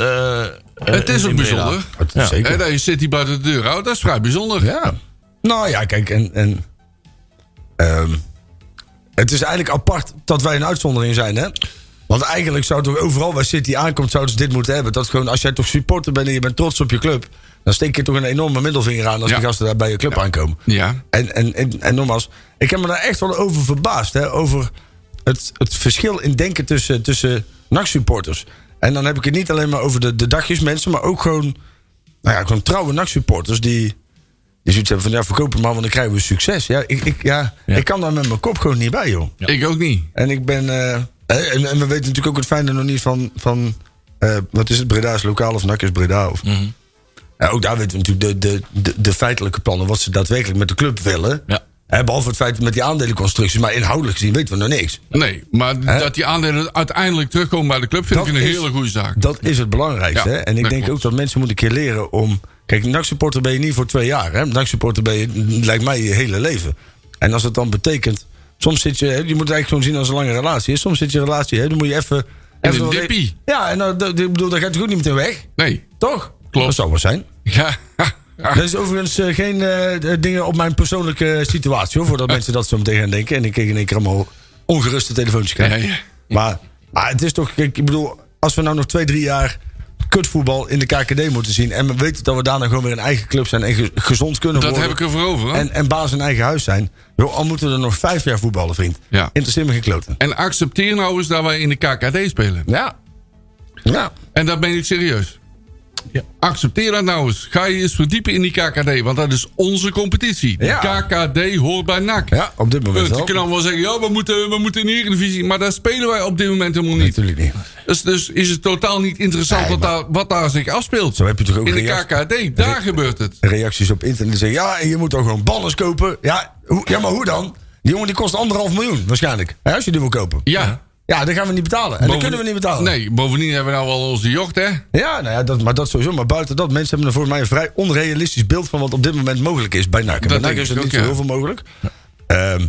eh, eh,
Het is
in
ook
Breda.
bijzonder.
Dat
Ja.
is Zeker.
Hè, dat je City buiten de deur houdt, dat is vrij bijzonder.
Ja. Nou ja, kijk, en. en ehm, het is eigenlijk apart dat wij een uitzondering zijn, hè? Want eigenlijk zou toch overal waar City aankomt, zouden ze dit moeten hebben. Dat gewoon, als jij toch supporter bent en je bent trots op je club, dan steek je toch een enorme middelvinger aan als
Ja.
die gasten daar bij je club aankomen.
Ja.
En, en, en, en nogmaals, ik heb me daar echt wel over verbaasd. Hè? Over het, het verschil in denken tussen, tussen NAC-supporters. En dan heb ik het niet alleen maar over de, de dagjesmensen, maar ook gewoon, nou ja, gewoon trouwe NAC-supporters die, die zoiets hebben van ja, verkoop het maar, want dan krijgen we succes. Ja, ik, ik, ja,
Ja.
ik kan daar met mijn kop gewoon niet bij, joh.
Ik ook niet.
En ik ben. eh, eh, en, en we weten natuurlijk ook het fijne nog niet van. van eh, wat is het, Breda is lokaal of NAC is Breda? Of, Ja, ook daar weten we natuurlijk de, de, de, de feitelijke plannen. Wat ze daadwerkelijk met de club willen.
Ja.
Eh, behalve het feit met die aandelenconstructies. Maar inhoudelijk gezien weten we nog niks.
Nee, maar d-
Hè?
dat die aandelen uiteindelijk terugkomen bij de club vind
Dat
ik een
is-
hele goede zaak.
Dat is het belangrijkste.
Ja,
hè? En ik
dat
denk
klopt.
ook dat mensen moeten een keer leren om... Kijk, NAC-supporter ben je niet voor twee jaar. hè? NAC-supporter ben je, lijkt mij, je hele leven. En als dat dan betekent... Soms zit je... hè, Je moet het eigenlijk gewoon zien als een lange relatie. hè? Soms zit je een relatie... Hè? Dan moet je even... even
een
wat-
dippie.
Ja, en nou, dat- ik bedoel, daar gaat het goed niet meteen weg.
Nee.
Toch?
Klopt.
Dat zou wel zijn.
Ja.
Dat is overigens eh, geen eh, dingen op mijn persoonlijke situatie... hoor. Voordat mensen dat zo meteen gaan denken. En ik kreeg in één keer allemaal ongeruste telefoontjes krijgen.
Nee.
Maar, maar het is toch, kijk, ik bedoel, als we nou nog twee, drie jaar kutvoetbal in de KKD moeten zien. En we weten dat we daarna gewoon weer een eigen club zijn en ge- gezond kunnen
Dat
worden.
heb ik er voor over. hoor. En,
en, en baas in eigen huis zijn. Joh, al moeten we er nog vijf jaar voetballen, vriend.
Ja.
Interesseer me geen kloten.
accepteer nou eens dat wij in de KKD spelen.
Ja. Ja.
En dat ben ik serieus. Accepteer dat nou eens. Ga je eens verdiepen in die KKD, want dat is onze competitie. De
Ja.
KKD hoort bij NAC.
Ja, op dit moment
Punt. Je
wel.
kan dan wel zeggen, ja, we moeten, we moeten in de Eredivisie. Maar daar spelen wij op dit moment helemaal niet.
Natuurlijk niet.
Dus, dus is het totaal niet interessant wat, daar, wat daar zich afspeelt.
Zo heb je toch ook
in de
react-
KKD, daar gebeurt het.
Reacties op internet zeggen, ja, en je moet toch gewoon ballers kopen. Ja, hoe, ja, maar hoe dan? Die jongen die kost anderhalf miljoen waarschijnlijk. Hè, als je die wil kopen.
Ja.
Ja, dan gaan we niet betalen. En dat kunnen we niet betalen.
Nee, bovendien hebben we nou wel onze jocht, hè?
Ja, nou ja dat, maar dat sowieso. Maar buiten dat, mensen hebben er volgens mij een vrij onrealistisch beeld van wat op dit moment mogelijk is bij NAC. En Bij
denk
NAC
ik
is er
ook,
niet zo
ja.
heel veel mogelijk. Ehm,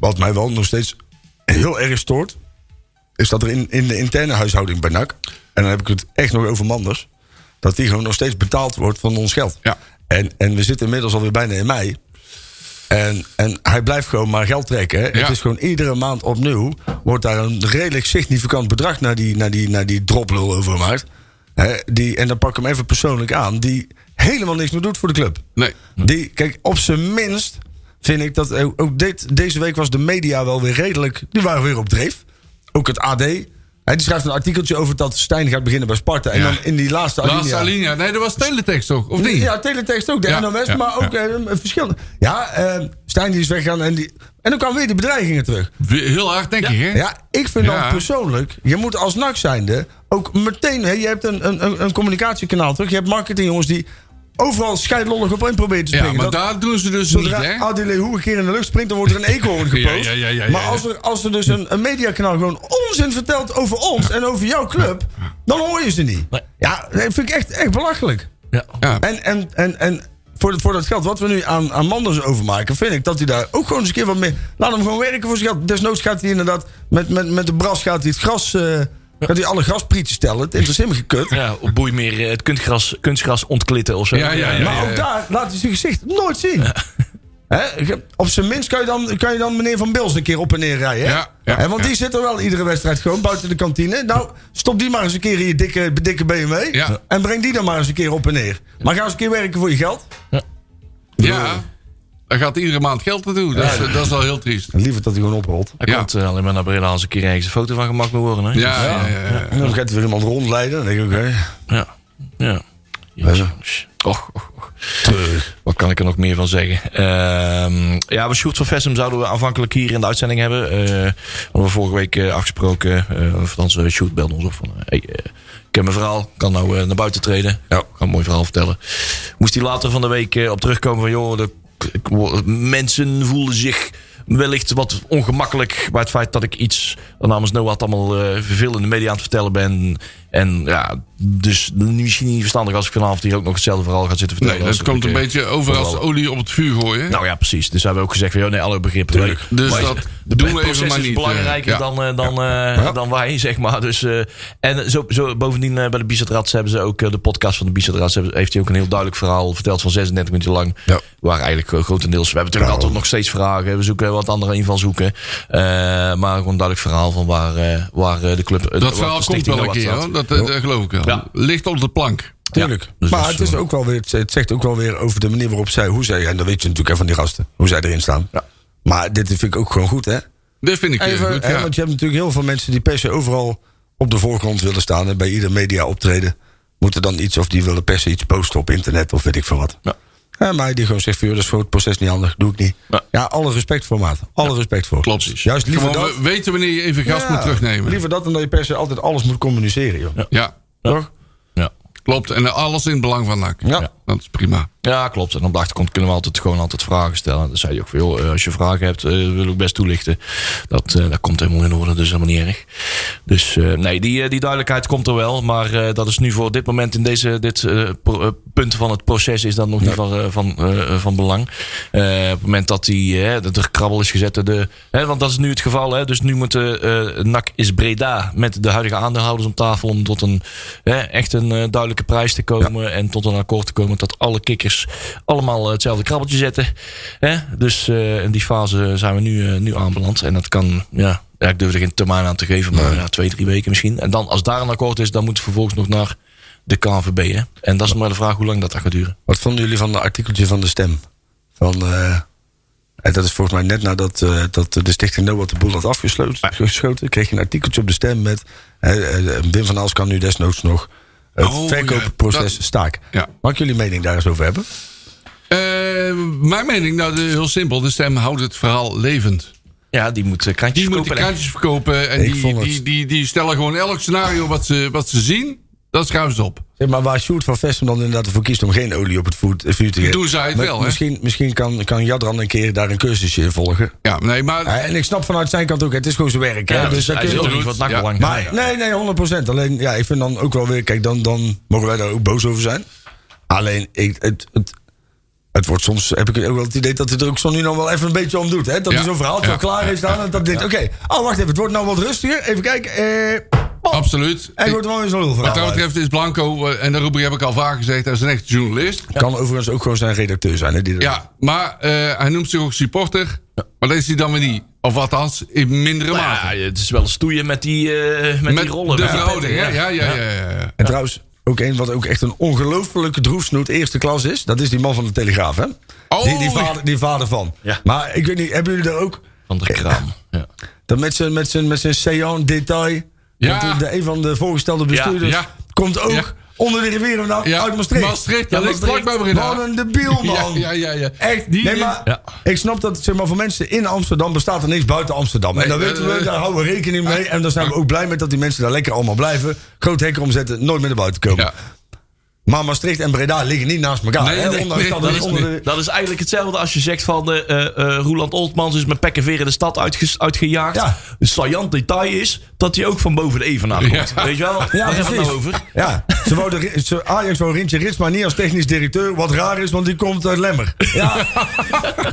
wat mij wel nog steeds heel erg stoort, is dat er in, in de interne huishouding bij NAC, en dan heb ik het echt nog over Manders, dat die gewoon nog steeds betaald wordt van ons geld.
Ja.
En, en we zitten inmiddels alweer bijna in mei. En, en hij blijft gewoon maar geld trekken. hè.
Ja.
Het is gewoon iedere maand opnieuw. Wordt daar een redelijk significant bedrag naar die, naar die, naar die droplul over gemaakt. Hè, die, en dan pak ik hem even persoonlijk aan. Die helemaal niks meer doet voor de club.
Nee.
Die, kijk, op zijn minst vind ik dat ook ook dit, deze week was de media wel weer redelijk. Die waren weer op dreef. Ook het AD. Hij die schrijft een artikeltje over dat Stijn gaat beginnen bij Sparta. En
Ja.
dan in die laatste,
Laatste
alinea-
Alinea. Nee, dat was teletext toch? Of niet?
ja, teletext ook. De
Ja,
NOS,
ja,
maar ook
ja.
eh, verschillende. Ja, eh, Stijn die is weggegaan en, die, en dan kwamen weer die bedreigingen terug.
Weer Heel hard, denk ik, hè?
Ja, ik vind
Ja.
dan persoonlijk, je moet als NAC zijnde ook meteen, hè, je hebt een, een, een- een communicatiekanaal terug, je hebt marketingjongens die overal scheidlollig op in proberen te
Ja,
springen.
maar
Dat-
daar doen ze dus niet, hè?
Zodra Adile Hoe een keer in de lucht springt, dan wordt er een eekhoorn
Ja,
gepost.
ja, ja, ja, ja,
maar
ja.
als er, als er dus een, een mediakanaal gewoon onzin vertelt over ons en over jouw club, dan hoor je ze niet.
Nee.
Ja, dat vind ik echt, echt belachelijk.
Ja.
Ja.
En, en, en, en voor, voor dat geld wat we nu aan, aan Manders overmaken, vind ik dat hij daar ook gewoon eens een keer wat mee. Laat hem gewoon werken voor zijn geld. Desnoods gaat hij inderdaad met, met, met de bras gaat hij het gras. eh, Gaat hij alle grasprietjes tellen? Het interesseert me gekut.
Ja, op boei meer eh, het kunstgras, kunstgras ontklitten of zo.
Ja, ja, ja.
Maar ook daar laat hij zijn gezicht nooit zien. Hè, ik heb- op zijn minst kan je, dan, kan je dan meneer Van Bils een keer op en neer rijden. hè?
Ja, ja,
Hè, want
ja.
die zit er wel iedere wedstrijd gewoon buiten de kantine. Nou, stop die maar eens een keer in je dikke, dikke BMW.
Ja.
En breng die dan maar eens een keer op en neer. Maar ga eens een keer werken voor je geld.
Ja. Daar gaat iedere maand geld naartoe. Dat is, dat is al heel triest.
Liever dat hij gewoon opholt.
Daar
Ja.
komt eh, alleen maar naar Breda als een keer ergens een foto van gemaakt moet worden. Hè?
Ja, ja, ja. ja.
En dan gaat hij weer iemand rondleiden. Dan denk ik, oké.
Ja. ja. Jezus. Och, och, och. Wat kan ik er nog meer van zeggen? Ehm, ja, we Sjoerd van Vessem zouden we aanvankelijk hier in de uitzending hebben. Eh, hadden we vorige week eh, afgesproken. eh of althans, eh, Sjoerd belde ons op van... eh, hey, eh, ik heb mijn verhaal, kan nou eh, naar buiten treden. Ja. Ik ga een mooi verhaal vertellen. Moest hij later van de week eh, op terugkomen van... joh, de, ik wo- mensen voelden zich wellicht wat ongemakkelijk... bij het feit dat ik iets namens Noah allemaal eh vervelende media aan het vertellen ben. En ja, dus misschien niet verstandig als ik vanavond hier ook nog hetzelfde verhaal ga zitten vertellen.
Nee, dat
Als
komt
ik,
een
eh,
beetje over als
vooral-
olie op het vuur gooien.
nou ja, precies. Dus hebben we ook gezegd van, joh, nee, alle begrippen.
Tuurlijk.
leuk.
Dus
Maar
dat
het
doen we
proces
even maar
is
niet,
belangrijker
eh, ja.
dan, eh, dan, eh, dan wij, zeg maar. Dus, eh, en zo, zo, bovendien eh, bij de Bizatrats hebben ze ook, eh, de podcast van de Bizatrats, hebben- heeft hij ook een heel duidelijk verhaal verteld van 36 minuten lang.
Ja.
Waar eigenlijk eh, grotendeels, we hebben natuurlijk altijd nog steeds vragen. We zoeken wat andere invalshoeken. Eh maar gewoon een duidelijk verhaal van waar, eh, waar eh, de club... eh, waar
Dat
de
verhaal komt
stichting
wel een
Noord
keer,
staat.
hoor. Dat, eh, dat geloof ik wel.
Ja.
Ligt op de plank.
Ja,
maar
dus dat
het, is
eh,
ook wel weer, het zegt ook wel weer over de manier waarop zij, hoe zij, en dat weet je natuurlijk hè, van die gasten, hoe zij erin staan. Maar dit vind ik ook gewoon goed, hè?
Dat vind ik eh,
Even,
goed,
hè,
ja.
want je hebt natuurlijk heel veel mensen die per se overal op de voorgrond willen staan en bij ieder media optreden. Moeten dan iets of die willen per se iets posten op internet of weet ik veel wat.
Ja.
Hè, maar die gewoon zegt: van, joh, dat is voor het proces niet handig, doe ik niet.
Ja.
Ja, alle respect voor maat. Alle respect voor.
Klopt.
Juist liever
Gewoon
dat.
we- weten wanneer je even gas
Ja,
moet terugnemen.
Liever dat dan dat je per se altijd alles moet communiceren, joh.
Ja,
Toch?
ja.
klopt. En alles in het belang van NAC.
Ja.
Dat is prima.
Ja, klopt. En op de achtergrond kunnen we altijd gewoon altijd vragen stellen. En Dan zei je ook van, joh, eh, als je vragen hebt, eh, wil ik best toelichten. Dat, eh, dat komt helemaal in orde, dus helemaal niet erg. Dus eh, nee, die, eh, die duidelijkheid komt er wel. Maar eh, dat is nu voor dit moment in deze, dit eh, pro- eh, punt van het proces is dat nog niet van, eh, van, eh, van belang. Eh, op het moment dat, die, eh, dat er krabbel is gezet. door De, hè, want dat is nu het geval. Hè, dus nu moeten eh NAC is Breda met de huidige aandeelhouders om tafel om tot een hè, echt een eh, duidelijke prijs te komen. En tot een akkoord te komen dat alle kikkers allemaal eh, hetzelfde krabbeltje zetten. Hè? Dus eh, in die fase zijn we nu, eh, nu aanbeland. En dat kan, ja, ja, ik durf er geen termijn aan te geven, maar ja, twee, drie weken misschien. En dan als daar een akkoord is, dan moet het vervolgens nog naar de KNVB. Hè? En dat is maar de vraag hoe lang dat gaat duren.
Wat vonden jullie van dat artikeltje van de stem? Van, eh, en dat is volgens mij net nadat eh, dat de stichting Noah de boel had
Ah.
afgesloten, geschoten, kreeg je een artikeltje op de stem met eh, eh, Wim van Aals kan nu desnoods nog het
Oh,
verkoopproces
ja, dat-
staak.
Ja.
Mag ik jullie mening daar eens over hebben?
Eh, mijn mening, nou de- heel simpel. De stem houdt het verhaal levend.
Ja, die moet eh, krantjes
Die
verkopen,
moeten
hè.
kaartjes verkopen. En
Ik
die,
vond het-
die, die, die stellen gewoon elk scenario wat ze, wat ze zien. Dat schuiven ze op.
Zeg maar waar Sjoerd van Vestem dan inderdaad ervoor kiest om geen olie op het voet- eh, vuur te geven.
Doen zij het
Maar
wel, hè?
Misschien, misschien kan, kan Jadran een keer daar een cursusje in volgen.
Ja, nee, maar
Eh, en ik snap vanuit zijn kant ook, het is gewoon zijn werk.
Ja,
hè?
dus
Dus daar
hij
kun je
zit
ook
ook niet
goed.
wat nakker
Ja.
lang.
Maar, nee, nee, 100%. Alleen, ja, ik vind dan ook wel weer... Kijk, dan, dan mogen wij daar ook boos over zijn. Alleen, ik, het, het, het wordt soms... Heb ik ook wel het idee dat hij er ook zo nu dan wel even een beetje om doet. Hè? Dat
Ja.
hij zo'n verhaaltje
Ja.
al klaar heeft staan. En dat denkt, oké, oh, wacht even. Het wordt nou wat rustiger. Even kijken. Eh,
absoluut.
en wordt er wel weer zo'n lul
Wat dat betreft is Blanco, eh, en de rubriek heb ik al vaak gezegd, hij is een echte journalist.
Kan overigens ook gewoon zijn redacteur zijn. Hè, die er-
Ja, maar eh, hij noemt zich ook supporter. Maar dat is hij dan weer niet. Of althans, in mindere
Nou
mate.
ja, het is wel stoeien met die, eh, met die rollen.
de
Met die
verhouding, hè?
petten,
Ja, ja, ja. ja, ja.
En trouwens, ook een wat ook echt een ongelooflijke droefsnoet eerste klas is. Dat is die man van de Telegraaf, hè?
Oh,
die, die, vader, die vader van.
Ja.
Maar ik weet niet, hebben jullie daar ook...
Van de kraam. Ja.
Dat met zijn, met zijn, met zijn seance detail.
Ja.
Ja. De, een van de voorgestelde bestuurders
Ja, ja.
komt ook
Ja.
onder de rivieren naar
Ja,
uit Maastricht.
Maastricht, dat ligt vlakbij Breda.
Wat een debiel,
Ja,
man.
ja, ja, ja.
Echt,
Die-
nee, maar
Ja.
ik snap dat zeg maar, voor mensen in Amsterdam bestaat er niks buiten Amsterdam. en dat
Nee,
weten
eh,
we, daar houden we rekening mee. En daar zijn we ook blij mee dat die mensen daar lekker allemaal blijven. Groot hekken omzetten, nooit meer naar buiten komen.
Ja.
Maar Maastricht en Breda liggen niet naast elkaar.
Nee,
hè,
nee,
ondanks
nee,
dat
dat
het
is
onder de-
Eh, Dat is eigenlijk hetzelfde als je zegt van eh eh, eh, Roeland Oltmans is met pek en veren de stad uitge- uitgejaagd.
Ja.
Een saillant detail is dat hij ook van boven de evenaar komt.
Ja.
Weet je
Ja,
wel? Waar hebben we het
precies.
nou over?
Ja, ze wouden, Ri- ze, Ajax wou Rintje Rits, maar niet als technisch directeur. Wat raar is, want die komt uit Lemmer. Ja.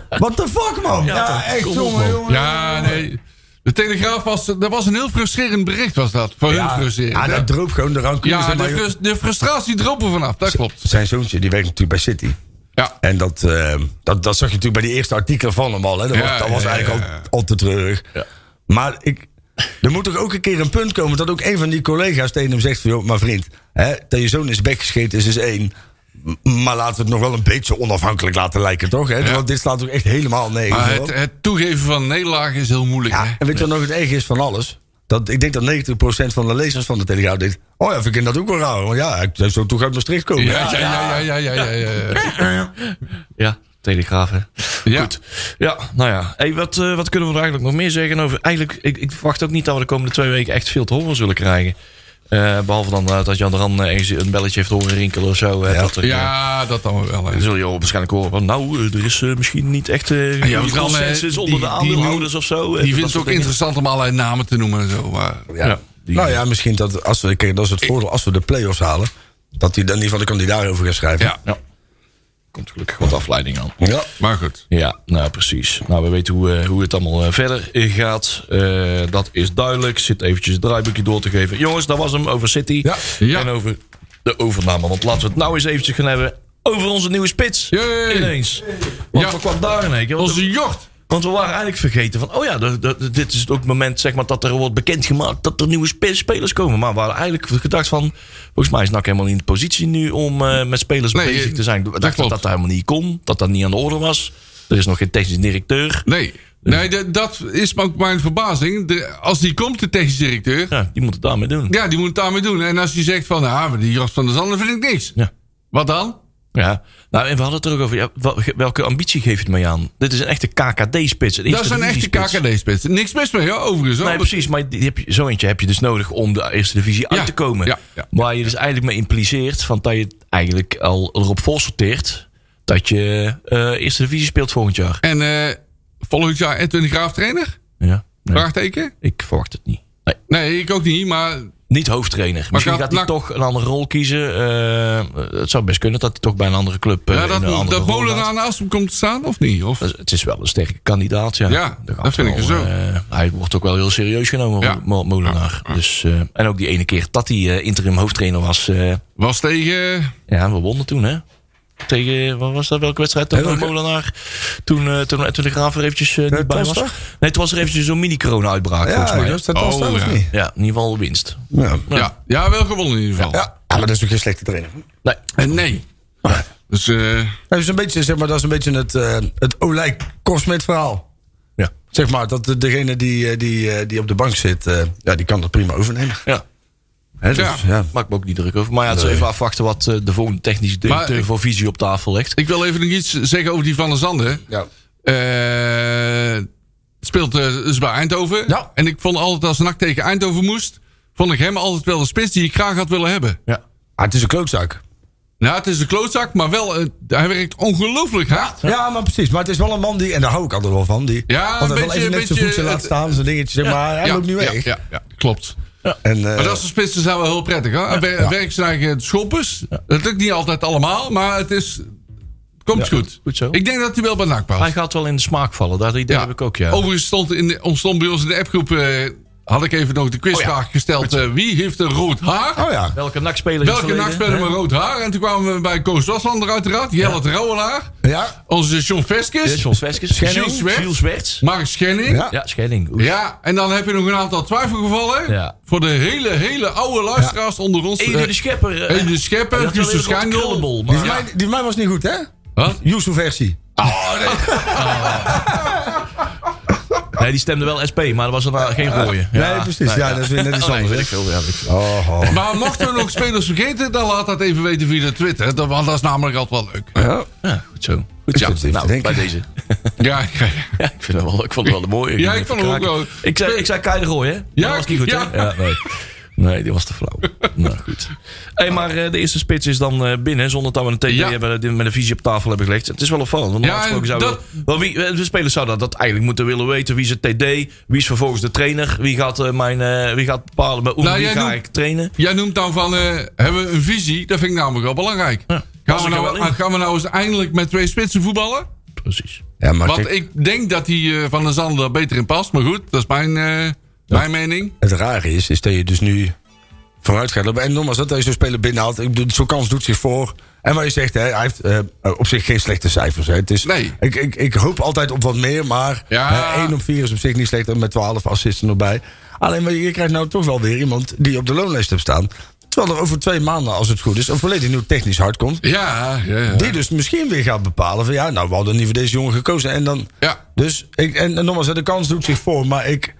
What the fuck, man? Ja,
toch.
echt,
Kom op,
jongen,
man.
jongen.
Ja, nee. De Telegraaf was... Dat was een heel frustrerend bericht, was dat. Voor hun frustrerend.
ja, dat droop gewoon de rancune.
Ja,
zeg
de,
maar, joh.
frus- de frustratie dropen vanaf, dat klopt.
Zijn zoontje, die werkt natuurlijk bij City.
Ja.
En dat, eh, dat, dat zag je natuurlijk bij die eerste artikelen van hem al. Hè. Dat,
Ja,
was, dat was
ja,
eigenlijk
ja, ja.
Al, al te treurig. Maar ik, er moet toch ook een keer een punt komen... dat ook een van die collega's tegen hem zegt... Van, joh, maar vriend, hè, dat je zoon is bek gescheten is, is één... M- Maar laten we het nog wel een beetje onafhankelijk laten lijken, toch? Hè? Want dit slaat ook echt helemaal nergens
Maar
op.
het, eh, het toegeven van nederlaag is heel moeilijk.
Ja,
hè?
en weet je wat nog het erg is van alles? Dat, ik denk dat 90% van de lezers van de Telegraaf denkt... oh ja, vind ik dat ook wel raar. Want ja, ik zou toch uit Maastricht komen.
Ja, ja, ja, ja, ja, ja, ja, ja.
Ja, Telegraaf hè.
Ja.
Goed. Ja, nou ja. Hey, wat, eh, wat kunnen we er eigenlijk nog meer zeggen over? Eigenlijk, ik, ik verwacht ook niet dat we de komende twee weken echt veel te horen zullen krijgen. Eh, behalve dan eh, dat Jan de Ran eh, ergens een belletje heeft horen rinkelen of zo. hè,
Ja.
dat er, eh,
Ja, dat dan wel. hè.
dan zul je waarschijnlijk horen van nou, eh, er is eh, misschien niet echt eh
Ja, want dan, eh,
consensus onder
die-
de
die-
aandeelhouders of zo. Eh,
Die vindt het ook interessant om allerlei namen te noemen en zo. Maar
Ja. nou ja, misschien dat als we, kijk, dat is het voordeel als we de play-offs halen, dat hij dan niet van de kandidaat over gaat schrijven.
ja,
Komt gelukkig wat afleiding aan.
Ja.
maar goed.
Ja, nou precies. Nou, we weten hoe, eh, hoe het allemaal eh, verder eh, gaat. Eh, dat is duidelijk. Zit eventjes het draaiboekje door te geven. Jongens, dat was hem over City.
Ja. Ja.
En over de overname. Want laten we het nou eens eventjes gaan hebben over onze nieuwe spits.
Yay.
Ineens. Want
Ja.
we kwamen daar in één keer. Want,
Onze jocht.
want we waren eigenlijk vergeten van... Oh ja, dat- dat- dit is ook het moment zeg maar, dat er wordt bekendgemaakt... dat er nieuwe spe- spelers komen. Maar we hadden eigenlijk gedacht van... Volgens mij is NAC helemaal niet in de positie nu om eh, met spelers
Nee,
bezig
eh,
te zijn. We
dat
dachten dat
klopt.
dat helemaal niet kon. Dat dat niet aan de orde was. Er is nog geen technisch directeur.
Nee, nee de- dat is ook mijn verbazing. De- als die komt, de technisch directeur,
Ja, die moet het daarmee doen. Ja.
ja, die moet het daarmee doen. En als die zegt van, nou, maar die jocht van der Zanden vind ik niks.
ja.
Wat dan?
Nou, en we hadden het er ook over. Ja, wel- ge- welke ambitie geeft het mij aan? Dit is een echte KKD-spits.
Dat zijn echte KKD-spits. Niks mis mee, hoor, overigens. hoor.
Nee, precies. Maar die heb je, zo eentje heb je dus nodig om de eerste divisie
Nou, Ja,
uit te komen.
ja, ja.
Waar je dus eigenlijk mee impliceert van dat je het eigenlijk al erop vol sorteert dat je eh, eerste divisie speelt volgend jaar.
En eh, volgend jaar Edwin de Graaf trainer?
Ja. Nee,
Vraagteken?
ik verwacht het niet. Nee,
Nee, ik ook niet, maar
Eh,
niet hoofdtrainer. Misschien
gaat
gaat hij
Nak-
toch een andere rol kiezen. Eh, het zou best kunnen dat hij toch bij een andere club. eh,
ja,
in een
dat,
andere
dat
rol gaat.
Molenaar naast hem komt te staan, of niet? Of?
Dus het is wel een sterke kandidaat, ja.
Ja,
Er gaat
dat vind ik
wel,
zo.
eh, hij wordt ook wel heel serieus genomen,
Ja.
Mo- Molenaar. Dus, eh, en ook die ene keer dat hij eh, interim hoofdtrainer was. eh,
Was tegen...
ja, we wonnen toen, hè? Tegen, wat was dat, welke wedstrijd? Toen
welke-
Molenaar, toen, eh, toen, toen de Graaf er eventjes eh, niet bij was.
Telstar?
Nee, het was er eventjes zo'n mini-corona-uitbraak, volgens
Ja,
mij.
dat dat
Oh,
was dat
ja.
of niet?
Ja, in ieder geval winst.
Ja.
Ja, ja wel gewonnen in ieder geval.
ja, maar dat is toch geen slechte trainer.
Nee,
En nee. Dus eh,
Dat is een beetje, zeg maar, dat is een beetje het, eh het Olij Kosmet verhaal.
ja.
Zeg maar, dat de- degene die, eh, die, eh, die op de bank zit, eh, ja, die kan dat prima overnemen.
ja.
Hè, dus,
Ja.
ja.
Maak me ook niet druk over. Maar ja, het is even afwachten wat eh, de volgende technische directeur
Maar-
voor visie op tafel legt.
ik wil even nog iets zeggen over die Van der Zanden.
Ja.
Eh, speelt eh, dus bij Eindhoven.
Ja.
En ik vond altijd als NAC tegen Eindhoven moest... vond ik hem altijd wel de spits die ik graag had willen hebben.
Ja.
Ah, het is een klootzaak.
Nou, het is een klootzak, maar wel... eh, hij werkt ongelooflijk hard.
Ja. maar precies. Maar het is wel een man die, en daar hou ik altijd wel van, die
Ja, een
altijd wel
beetje-
even
een
net zijn
beetje
voetje laat
het-
staan, zijn dingetje, zeg maar. Hij loopt nu
ja,
weg.
ja, ja, klopt.
En, eh,
Maar dat is een spits, dat zijn wel heel prettig. Hoor. Wer- Werkt zijn eigen schoppers. Het lukt niet altijd allemaal, maar het is... het komt goed.
goed zo.
Ik denk dat hij wel bij NAC past.
Hij gaat wel in de smaak vallen, dat idee heb ik ook, ja.
Overigens stond in de, ontstond bij ons in de appgroep... eh, had ik even nog de quizvraag
Oh
gesteld. eh, wie heeft een rood haar?
oh ja.
Welke nakspeler
Welke nachtspeler met rood haar? En toen kwamen we bij Koos Waslander uiteraard. Jelle ja.
Ja.
Onze John Veskes.
John Veskes.
Jules Zwerts.
Jules Zwerts.
Mark Schenning. Ja.
Ja.
Ja, Schelling. Oeh.
en dan heb je nog een aantal twijfelgevallen.
Ja.
Voor de hele, hele oude luisteraars onder ons.
Ede de
Eh,
Schepper. eh,
Ede de Schepper,
dat
Justus
is wel een
Schijndel.
krullenbol,
Die
maar-
van, mij, die van mij was niet goed, hè?
Wat?
Yuzu versie.
Nee, die stemde wel SP, maar er was er nou geen rode.
Nee, precies. Ja, dat is weer net iets
Oh, nee,
anders,
weet ik
hè?
veel, ja, weet ik veel.
Oh, oh.
Maar mochten we nog spelers vergeten, dan laat dat even weten via de Twitter. Dat, want dat is namelijk altijd wel leuk.
Ja.
Ja, goed zo. Goed
zit
zo.
even te
Nou,
denken.
bij deze.
Ja, ja, ja.
Ja, ik, vind het wel, ik vond het wel mooi.
Ja, ik vond het ook wel.
Ik zei, ik zei Kai de Roy, hè? Ja, dat was niet goed,
ja.
hè? Ja, nee. Nee, die was te flauw. nou, goed. Hey, maar eh, de eerste spits is dan eh, binnen, zonder dat we een TD
Ja.
hebben die we met een visie op tafel hebben gelegd. Het is wel opvallend. Want
Ja,
normaal gesproken zouden
dat-
we, wel wie, eh, de spelers zouden dat eigenlijk moeten willen weten. Wie is het TD? Wie is vervolgens de trainer? Wie gaat, eh, mijn, eh, wie gaat bepalen bij Oeh,
Nou,
wie
jij
ga
noemt-
ik trainen?
Jij noemt dan van, eh, hebben we een visie? Dat vind ik namelijk wel belangrijk. Gaan,
Pas
we
ik er
nou,
wel in.
gaan we nou eens eindelijk met twee spitsen voetballen?
Precies.
Ja, maar
Want
kijk,
ik denk dat die eh, Van der Zanden daar beter in past. Maar goed, dat is mijn, eh, mijn mening.
het rare is, is dat je dus nu vooruit gaat lopen. En nogmaals, dat hij zo'n speler binnenhaalt. Ik bedoel, Zo'n kans doet zich voor. En wat je zegt, hè, hij heeft eh, op zich geen slechte cijfers. Hè. Het is,
Nee.
ik, ik, ik hoop altijd op wat meer, maar
Ja.
hè, 1 op 4 is op zich niet slecht. En met 12 assisten erbij. Alleen, maar je krijgt nou toch wel weer iemand die op de loonlijst hebt staan. Terwijl er over twee maanden, als het goed is, een volledig nieuw technisch hart komt.
Ja, ja, ja.
Die dus misschien weer gaat bepalen van ja, nou we hadden niet voor deze jongen gekozen. En dan.
Ja.
Dus ik, en, en nogmaals, hè, de kans doet zich voor, maar ik.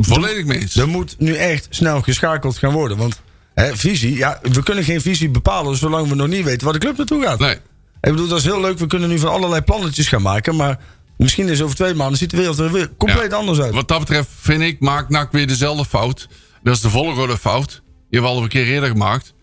Volledig mee eens.
Er moet nu echt snel geschakeld gaan worden. Want hè, visie, ja, we kunnen geen visie bepalen zolang we nog niet weten waar de club naartoe gaat.
Nee.
Ik bedoel, dat is heel leuk. We kunnen nu van allerlei plannetjes gaan maken. Maar misschien is over twee maanden ziet de wereld er weer compleet
Ja.
anders uit.
Wat dat betreft vind ik, maakt NAC weer dezelfde fout. Dat is de volgorde fout. Die hebben we al een keer eerder gemaakt.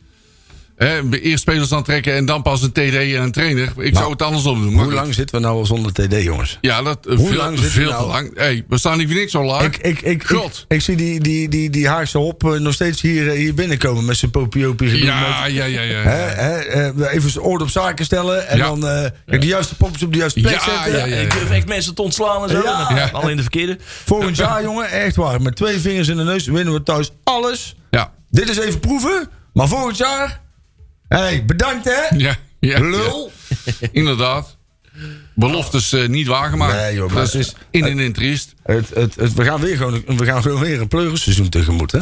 Hè, eerst spelers aantrekken en dan pas een TD en een trainer. Ik zou het andersom doen. maar
Hoe
goed.
lang zitten we nou al zonder TD, jongens?
Ja, dat eh,
Hoe
veel,
lang zit
veel
hij nou?
te lang. Hey, we staan hier voor niks zo laag.
Ik, ik, ik, ik,
God.
ik zie die, die, die, die Haagse hop eh, nog steeds hier, eh, hier binnenkomen met zijn popiopie gedoe. met-
ja, ja, ja, ja.
Hè, hè, eh, even zijn oor op zaken stellen. En
Ja.
dan eh, kijk, de juiste poppers op de juiste plek
Ja,
zetten.
ja, ja.
Ik durf echt mensen te ontslaan en zo.
Ja.
En dan- Alleen de verkeerde.
Volgend jaar, jongen, echt waar. Met twee vingers in de neus winnen we thuis alles.
Ja,
Dit is even proeven. Maar volgend jaar... hey, bedankt hè.
ja, ja.
Lul.
ja. Inderdaad. Beloftes eh, niet waargemaakt.
Nee, joh, maar
dat
het
is
is-
in en in triest.
Het, het, het, we, gaan weer gewoon, een- we gaan gewoon weer een pleugelseizoen tegemoet. Hè?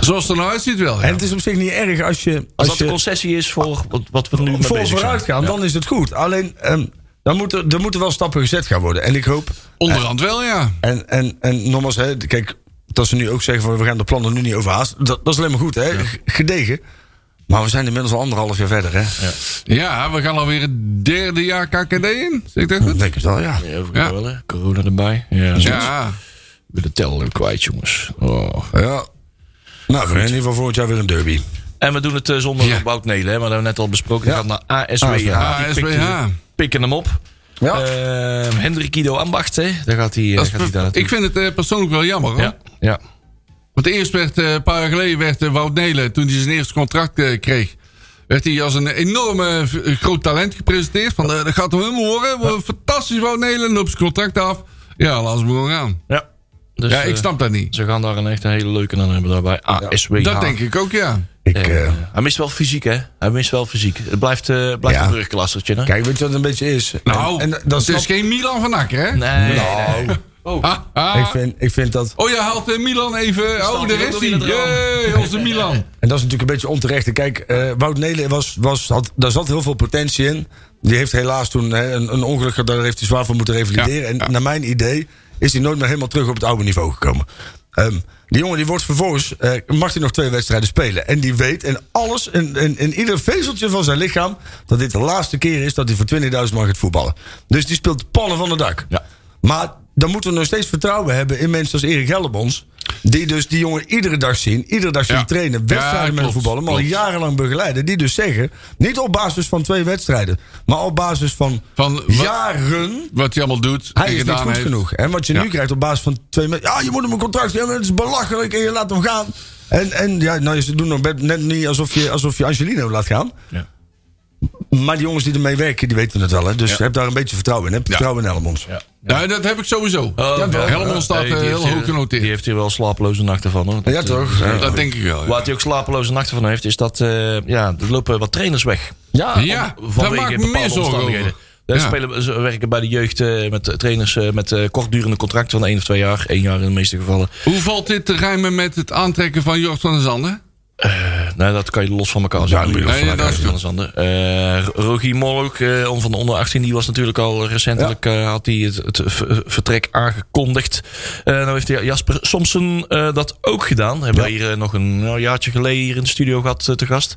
Zoals het er nou uitziet wel. ja.
En het is op zich niet erg als je...
Als,
Als
dat de
je
concessie is voor wat, wat we nu
vol
mee bezig zijn.
vooruit gaan, dan is het goed. Alleen, ehm, dan moet er, er moeten wel stappen gezet gaan worden. En ik hoop
Onderhand wel, ja.
En, en, en nogmaals, hè, kijk, dat ze nu ook zeggen van we gaan de plannen nu niet overhaast. Dat, dat is alleen maar goed, hè? g- Gedegen. Maar we zijn inmiddels al anderhalf jaar verder, hè?
Ja, we gaan alweer het derde jaar KKD in. Zeg ik dat
Dat
goed?
denk ik wel, ja.
Ja,
Ja.
wel, hè? Corona erbij. Ja.
Ja,
Ik ben de teller weer kwijt, jongens. Oh.
ja. Nou, we in ieder geval volgend jaar weer een derby.
En we doen het eh, zonder
Ja.
Wout Nelen, hè? Maar dat hebben we net al besproken. Die
Ja.
gaat naar ASWH. Die
ASWH.
pikken- Pikken hem op.
Ja.
Eh, Hendrik Ido Ambacht, hè? Daar gaat hij, eh,
dat
gaat hij
is
daar
per-
naartoe.
ik vind het eh, persoonlijk wel jammer. Hoor.
ja. ja.
Want eerst werd, eh, een paar jaar geleden werd eh, Wout Nelen, toen hij zijn eerste contract eh, kreeg, werd hij als een enorme v- groot talent gepresenteerd. Van, eh, dat gaat hem helemaal horen. We- Fantastisch Wout Nelen, loopt zijn contract af. Ja, laat ze maar gewoon gaan.
ja. Dus,
Ja, ik
eh,
snap dat niet.
Ze gaan daar een echt een hele leuke aan hebben daarbij. ASWH.
Dat denk ik ook, ja.
Ik,
Eh,
eh,
hij mist wel fysiek, hè? Hij mist wel fysiek. Het blijft, eh blijft
Ja.
een brugklassertje, hè?
kijk, weet je wat het een beetje is?
Nou,
en, en dan
het
snap,
is geen Milan van Akker, hè?
Nee, nee.
Nou,
Ah, ah.
ik, vind, ik vind dat.
Oh, je haalt eh, Milan even.
staat
Oh, daar
hij
is
ook
hij.
weer in het raam.
Jee, onze Milan.
En dat is natuurlijk een beetje onterecht. En Kijk, eh, Wout Nelen was, was, had, daar zat heel veel potentie in. Die heeft helaas toen hè, een, een ongeluk gehad. Daar heeft hij zwaar voor moeten revalideren.
Ja,
en
ja.
naar mijn idee is hij nooit meer helemaal terug op het oude niveau gekomen. Ehm, die jongen die wordt vervolgens, eh, mag hij nog twee wedstrijden spelen. En die weet in alles, in, in, in ieder vezeltje van zijn lichaam... dat dit de laatste keer is dat hij voor 20.000 man gaat voetballen. Dus die speelt pannen van de dak.
Ja.
Maar dan moeten we nog steeds vertrouwen hebben in mensen als Erik Hellebons... die dus die jongen iedere dag zien, iedere dag zien
Ja.
trainen...
Ja,
wedstrijden met
klopt,
hem voetballen, maar al
klopt.
jarenlang begeleiden. Die dus zeggen, niet op basis van twee wedstrijden, maar op basis van,
Van wat-
jaren.
Wat hij allemaal doet. en
Hij is niet
gedaan
goed
heeft.
genoeg. En wat je
Ja.
nu krijgt op basis van twee me- Ja, je moet hem een contract geven, het is belachelijk en je laat hem gaan. En, en ja, nou, ze doen nog bed- net niet alsof je, alsof je Angelino laat gaan.
Ja.
Maar die jongens die ermee werken, die weten het wel. Hè? Dus
Ja.
heb daar een beetje vertrouwen in. Heb vertrouwen in Elmons.
Ja.
Nou, dat heb ik sowieso. ja,
Oh, wel.
Helmond staat
Nee, die
eh,
heeft
heel
hier-
hoog genoteerd.
Die heeft hier wel slapeloze nachten van, hoor.
Ja, toch? Ja.
dat denk ik wel. ja.
Waar hij ook slapeloze nachten van heeft, is dat eh, ja, er lopen wat trainers weg.
Ja.
Ja, daar
Vanwege
maak ik me
bepaalde
meer zorgen
omstandigheden.
over.
Er
Ja.
spelen, ze werken bij de jeugd eh, met eh, trainers eh, met eh, kortdurende contracten van één of twee jaar. één jaar in de meeste gevallen.
Hoe valt dit te rijmen met het aantrekken van Jort van der Zanden?
Eh, nou, dat kan je los van elkaar zeggen.
moet je
los van elkaar
dat is anders. Eh, Rogier Molk eh, om van de onder 18, die was natuurlijk al recentelijk eh, had hij het, het ver- vertrek aangekondigd. Eh nou heeft hij Jasper Somsen eh, dat ook gedaan. Hebben wij hier eh, nog een nou, jaartje geleden hier in de studio gehad eh, te gast.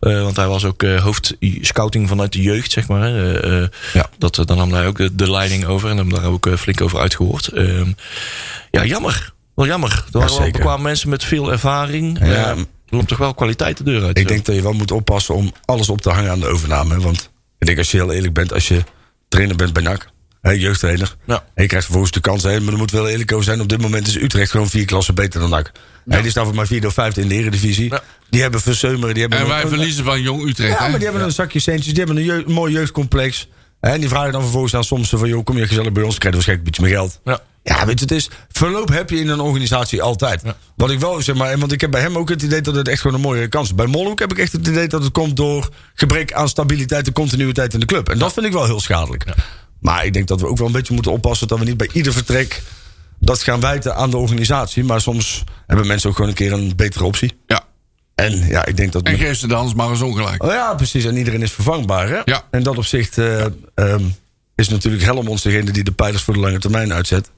Eh, want hij was ook eh, hoofd scouting vanuit de jeugd, zeg maar. hè. Eh, eh,
Ja.
dat, eh, daar nam hij ook de, de leiding over en hebben daar ook eh, flink over uitgehoord. Ehm, ja, jammer. Wel jammer. Er waren wel
zeker.
bekwame mensen met veel ervaring.
Ja.
Eh, er loopt toch wel kwaliteit de deur uit.
Ik denk dat je wel moet oppassen om alles op te hangen aan de overname. hè. Want ik denk als je heel eerlijk bent, als je trainer bent bij NAC, hè, jeugdtrainer.
Ja.
En je krijgt vervolgens de kans. Hè, maar er moet wel eerlijk over zijn. Op dit moment is Utrecht gewoon vier klassen beter dan NAC. Hè, die staan nou voor maar vierde of vijfde in de eredivisie.
Ja.
Die hebben Verseumeren. Die hebben
En
een-
wij verliezen van Jong Utrecht.
Ja, maar
hè?
die hebben een zakje centjes. Die hebben een, jeugd- mooi jeugdcomplex. hè, En die vragen dan vervolgens aan soms van... joh, kom je gezellig bij ons, krijg je waarschijnlijk een beetje meer geld.
Ja.
Ja, weet je, het is... Verloop heb je in een organisatie altijd. Wat ik wel zeg maar... en Want ik heb bij hem ook het idee dat het echt gewoon een mooie kans is. Bij Molhoek heb ik echt het idee dat het komt door... gebrek aan stabiliteit en continuïteit in de club. En dat vind ik wel heel schadelijk. Maar ik denk dat we ook wel een beetje moeten oppassen... dat we niet bij ieder vertrek dat gaan wijten aan de organisatie. Maar soms hebben mensen ook gewoon een keer een betere optie.
Ja.
En ja, ik denk dat...
En geef ze de Hans maar eens ongelijk.
Oh ja, precies. En iedereen is vervangbaar, hè?
Ja.
En dat opzicht eh, ehm, is natuurlijk Helmonds degene die de pijlers voor de lange termijn uitzet.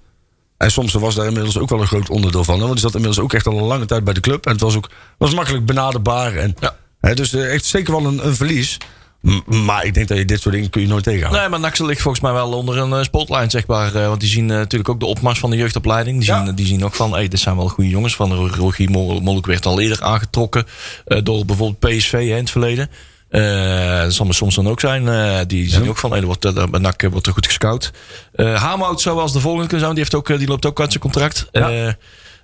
En soms was daar inmiddels ook wel een groot onderdeel van. hè, Want die zat inmiddels ook echt al een lange tijd bij de club. En het was ook was makkelijk benaderbaar. En,
Ja.
hè, dus eh, echt zeker wel een, een verlies. M- maar ik denk dat je dit soort dingen kun je nooit tegenhouden.
Nee, maar Naxel ligt volgens mij wel onder een eh, spotlight, zeg maar. Eh, want die zien eh, natuurlijk ook de opmars van de jeugdopleiding. Die,
Ja.
zien, eh, die zien ook van, hey, dit zijn wel goede jongens. Van Ro- Rogier Mol- Molk werd al eerder aangetrokken eh, door bijvoorbeeld PSV hè, in het verleden. Eh, dat zal me soms dan ook zijn. eh, die zien ook van, hey, er wordt, eh, daar bij NAC wordt er goed gescout. Eh Hamout zou wel als de volgende kunnen zijn. want Die, heeft ook, eh, die loopt ook uit zijn contract. Eh, eh,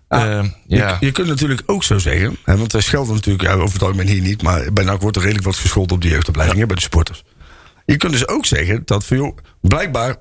Ah.
Ja.
Je, je kunt natuurlijk ook zo zeggen. Hè, want wij schelden natuurlijk ja, over het algemeen hier niet. Maar bij NAC wordt er redelijk wat gescholden op de jeugdopleiding. hè, bij de supporters. Je kunt dus ook zeggen dat van, joh, blijkbaar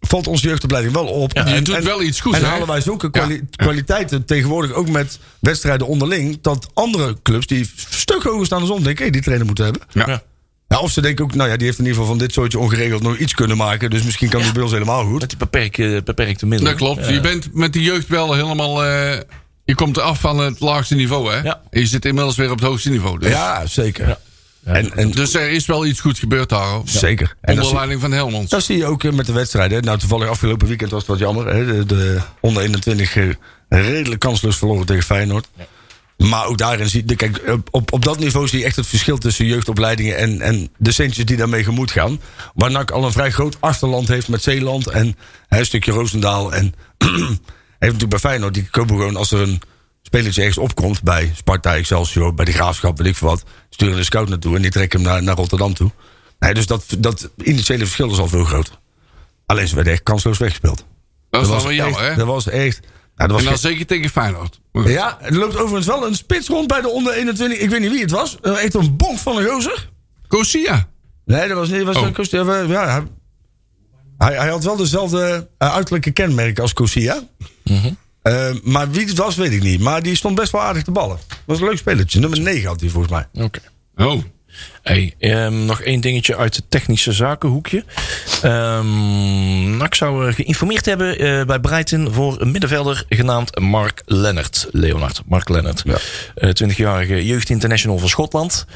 valt onze jeugdopleiding wel op.
en doet wel iets goeds,
En
hè?
halen wij zulke
Ja.
kwali- kwaliteiten tegenwoordig ook met wedstrijden onderling. Dat andere clubs die een stuk hoger staan dan ons denken, hé, die trainer moeten hebben.
Ja.
Ja.
Ja, of ze denken ook, nou ja, die heeft in ieder geval van dit soortje ongeregeld nog iets kunnen maken. Dus misschien kan die bij ons helemaal goed.
Met die beperkte, beperkte middelen.
Dat klopt.
Ja.
Je bent met de jeugd wel helemaal... eh, je komt af van het laagste niveau, hè?
Ja.
En je zit inmiddels weer op het hoogste niveau. Dus,
Ja, zeker. En, en,
dus er is wel iets goeds gebeurd daar. hoor.
Zeker. En dat
Onder
zie-
leiding van Helmond.
Dat zie je ook eh, met de wedstrijden. hè. Nou, toevallig afgelopen weekend was het wat jammer. Hè? De, de onder 21 eh, redelijk kansloos verloren tegen Feyenoord. Maar ook daarin zie je, kijk, op- op, op dat niveau zie je echt het verschil tussen jeugdopleidingen en, en de centjes die daarmee gemoed gaan. Waar NAC al een vrij groot achterland heeft met Zeeland en hè, een stukje Roosendaal. En heeft natuurlijk bij Feyenoord, die kopen gewoon als er een spelertje ergens opkomt bij Sparta, Excelsior, bij de Graafschap, weet ik veel wat. Sturen de scout naartoe en die trekken hem naar, naar Rotterdam toe. Nee, dus dat, dat initiële verschil is al veel groter. Alleen ze werden echt kansloos weggespeeld.
Dat is dan wel
echt,
jammer, hè?
Dat was echt... nou, dat was
En dan
ge-
zeker tegen Feyenoord.
ja, er loopt overigens wel een spits rond bij de onder 21. Ik weet niet wie het was. Eh, Echt een bonk van een gozer.
Cosia.
Nee, dat was niet. Was
Oh.
een Cosia. We- ja, hij, hij, hij had wel dezelfde eh, uiterlijke kenmerken als Cosia. Eh, maar wie het was, weet ik niet. Maar die stond best wel aardig te ballen. was een leuk spelletje. Nummer 9 had hij volgens mij.
Oké.
Oh.
Hey, ehm, nog één dingetje uit het technische zakenhoekje. Ehm NAC zou eh, geïnformeerd hebben eh, bij Breiten voor een middenvelder genaamd Mark Lennert. Leonard, Mark Lennert. Eh, 20-jarige jeugdinternational van Schotland.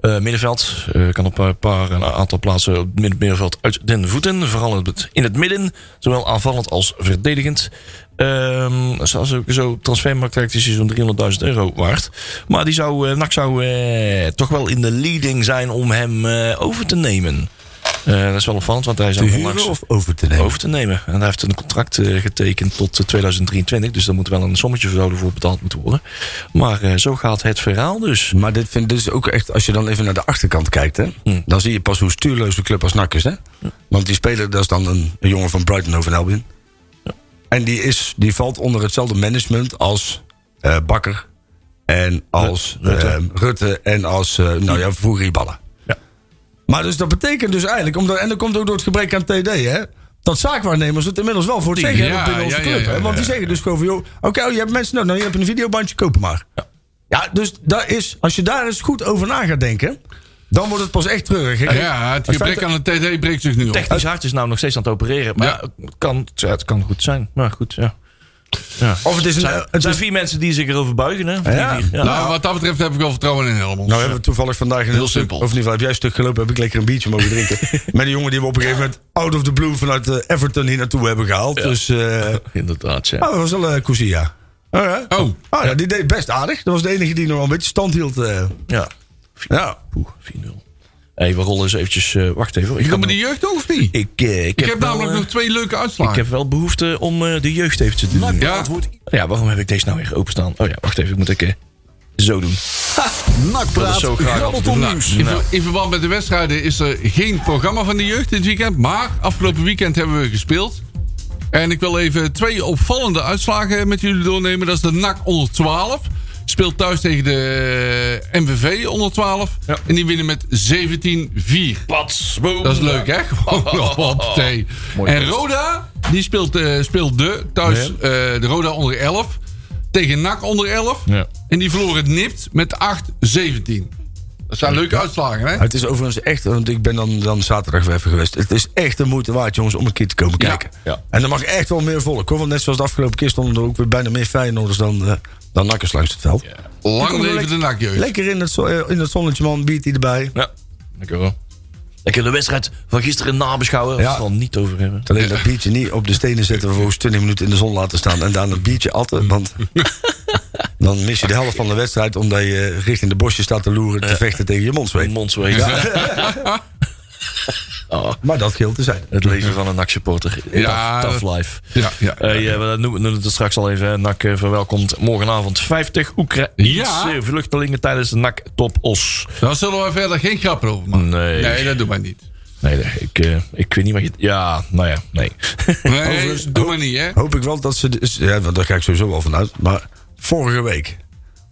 Eh, middenveld eh, kan op een paar een aantal plaatsen op het midden- middenveld uit den voeten. Vooral in het- in het midden, zowel aanvallend als verdedigend. Ehm zoals ook zo, transfermarkt is hij zo'n 300.000 euro waard. Maar die zou, eh, NAC zou eh, toch wel in de leading zijn om hem eh, over te nemen. Eh, dat is wel opvallend, want hij is
Te
al
huren of over te nemen?
over te nemen. En hij heeft een contract eh, getekend tot eh, 2023. Dus daar moet wel een sommetje voor voor betaald moeten worden. Maar eh, zo gaat het verhaal dus.
Maar dit, vind, dit is ook echt, als je dan even naar de achterkant kijkt, hè,
Hm.
dan zie je pas hoe stuurloos de club als NAC is. Hè? Want die speler, dat is dan een, een jongen van Brighton over Albion. En die, is, die valt onder hetzelfde management als eh, Bakker en als eh,
Rutte.
Rutte, en als, eh, nou ja, vroeger Ballen.
Ja.
Maar dus dat betekent dus eigenlijk, omdat, en dat komt ook door het gebrek aan TD, hè? Dat zaakwaarnemers het inmiddels wel voor het zeggen hebben
Ja,
binnen onze
ja, ja,
club.
ja,
hè?
ja,
Want die
ja,
zeggen dus gewoon van, joh, oké, oh, je hebt mensen nodig, nou, je hebt een videobandje, kopen maar. Ja, dus daar is, als je daar eens goed over na gaat denken, dan wordt het pas echt treurig. hè?
Ja, het gebrek aan de TD breekt zich nu op.
Technisch hard is nou nog steeds aan het opereren. Maar
Ja.
het, kan, ja, het kan goed zijn. Maar goed, ja.
Of het is een...
zijn,
eh, het
zijn
is,
vier mensen die zich erover buigen. Hè? Drie,
Ja.
vier. Ja.
Nou, wat dat betreft heb ik wel vertrouwen in Helmond.
nou hebben we toevallig vandaag... een heel stuk-
simpel.
Of in ieder geval, heb jij een stuk gelopen, heb ik lekker een biertje mogen drinken. Met een jongen die we op een gegeven moment out of the blue vanuit eh, Everton hier naartoe hebben gehaald. Dus... eh,
Inderdaad, ja.
Ah, dat was wel eh Cousia.
Oh.
Ah, ja, die deed best aardig. Dat was de enige die nog wel een beetje stand hield. eh.
ja.
ja.
Poeh, 4-0. Hey, we rollen eens eventjes... eh, wacht even. Ik,
Je
kan
kan met de jeugd doen of niet? Ik,
ik, eh, ik,
heb
wel,
namelijk
eh,
nog twee leuke
Ik
uitslagen.
heb wel behoefte om eh, de jeugd even te doen.
Ja.
Antwoord
Ja, waarom heb ik deze nou weer openstaan? Oh ja, wacht even. Ik moet ik eh, zo doen.
Nakpraat,
zo graag
grabbelton
altijd.
nieuws.
In, ver- in verband met de wedstrijden is er geen programma van de jeugd dit weekend. Maar afgelopen weekend hebben we gespeeld. En ik wil even twee opvallende uitslagen met jullie doornemen. Dat is de NAC onder 12. Speelt thuis tegen de eh, MVV onder 12. En die winnen met 17-4.
Pats,
Dat is leuk, hè? Gewoon hoppatee.
Mooi
En
geweest.
Roda, die speelt, eh, speelt de thuis eh, de Roda onder 11. Tegen NAC onder 11.
Ja.
En die verloren het nipt met 8-17. Dat zijn leuke uitslagen, hè?
Het is overigens echt, want ik ben dan, dan zaterdag weer even geweest. Het is echt de moeite waard, jongens, om een keer te komen
Ja.
kijken.
Ja.
En er mag echt wel meer volk, hoor. Want net zoals de afgelopen keer stonden er ook weer bijna meer Feyenoorders dan, eh, dan nakkers langs het veld. Je
Lang
komt er
leven
lekker-
de NAC-jeugd.
Lekker in het, zo- eh, in het zonnetje, man. Biedt hij erbij.
Ja, lekker wel. Lekker de wedstrijd van gisteren nabeschouwen.
Ja.
Ja. het niet over hebben.
Alleen dat biertje niet op de stenen zetten, vervolgens 20 minuten in de zon laten staan en daarna een biertje atten. Want dan mis je de helft van de wedstrijd omdat je eh, richting de bosjes staat te loeren, te vechten tegen je mondzweet.
Mondsweet. Ah,
Maar dat geheel te zijn.
het leven van een NAC-supporter.
Ja,
Ja, tough,
dat-
life.
Ja, ja.
Eh, ja, we noemen het straks al even. hè. NAC eh, verwelkomt morgenavond 50 Oekraïnse
Ja.
vluchtelingen tijdens de NAC Top Os.
Daar zullen we verder geen grap over maken.
Nee.
Nee, dat doen wij niet.
Nee, nee, ik, eh, ik weet niet wat je... Ja, nou ja, nee.
Nee, doe maar niet, hè?
Oh.
Hoop ik wel dat ze. de- Ja, want daar ga ik sowieso wel vanuit. Maar vorige week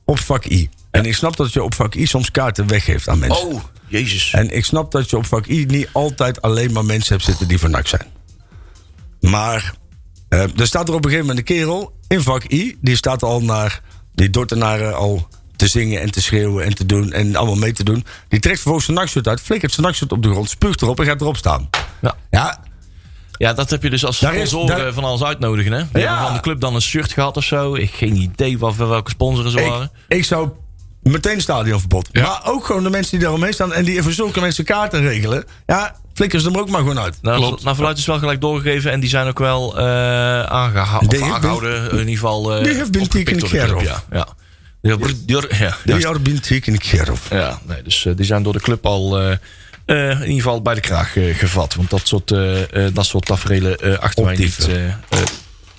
op vak I. En ik snap dat je op vak I soms kaarten weggeeft aan mensen.
oh, jezus.
En ik snap dat je op vak I niet altijd alleen maar mensen hebt zitten die van NAC zijn. Maar eh, er staat er op een gegeven moment een kerel in vak I. Die staat al naar die Dortenaren al te zingen en te schreeuwen en te doen en allemaal mee te doen. Die trekt vervolgens zijn nakshirt uit, flikkert zijn nakshirt op de grond, spuugt erop en gaat erop staan.
Ja.
Ja,
Ja, dat heb je dus als
Daar is-
sponsoren
daar-
van alles uitnodigen, hè? We
Ja.
hebben van de club dan een shirt gehad of zo. Ik geen idee wat, welke sponsoren ze
ik,
waren.
ik zou meteen stadionverbod.
Ja.
Maar ook gewoon de mensen die daar omheen staan en die voor zulke mensen kaarten regelen. Ja, flikker ze er ook maar gewoon uit.
Nou,
Klopt.
nou, verluid is wel gelijk doorgegeven en die zijn ook wel eh aangeha- of
Die heeft-
aangehouden. In ieder geval. eh
die heeft been
opgepikt
taken
door de club,
care of.
Ja, ja. Die- die- die- ja,
De
juist.
jaar bent ik in Kierhof.
ja nee, dus eh, die zijn door de club al eh, eh, in ieder geval bij de kraag eh, gevat. Want dat soort, eh, eh, dat soort tafereelen eh achten wij niet
Optieven.
eh, eh,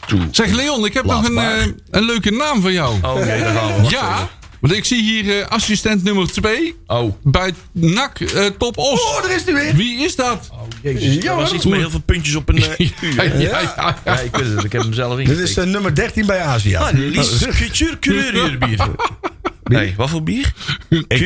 toe.
Zeg Leon, ik heb nog een,
Laatbaar.
eh, een leuke naam voor jou.
Oh, oké, daar gaan we. Wacht
Ja, want ik zie hier eh, assistent nummer 2
even. Oh,
bij NAC eh, Top Os.
Oh, daar is hij weer!
Wie is dat?
dat was iets met heel veel puntjes op een eh, uur.
Ja, ja, ja,
Ja,
ja.
ik weet het. Ik heb hem zelf
Dit is
ingetikt.
eh, nummer 13 bij Azië.
Ah,
eh,
Lies Kulturkureurbier. Nee, wat voor bier?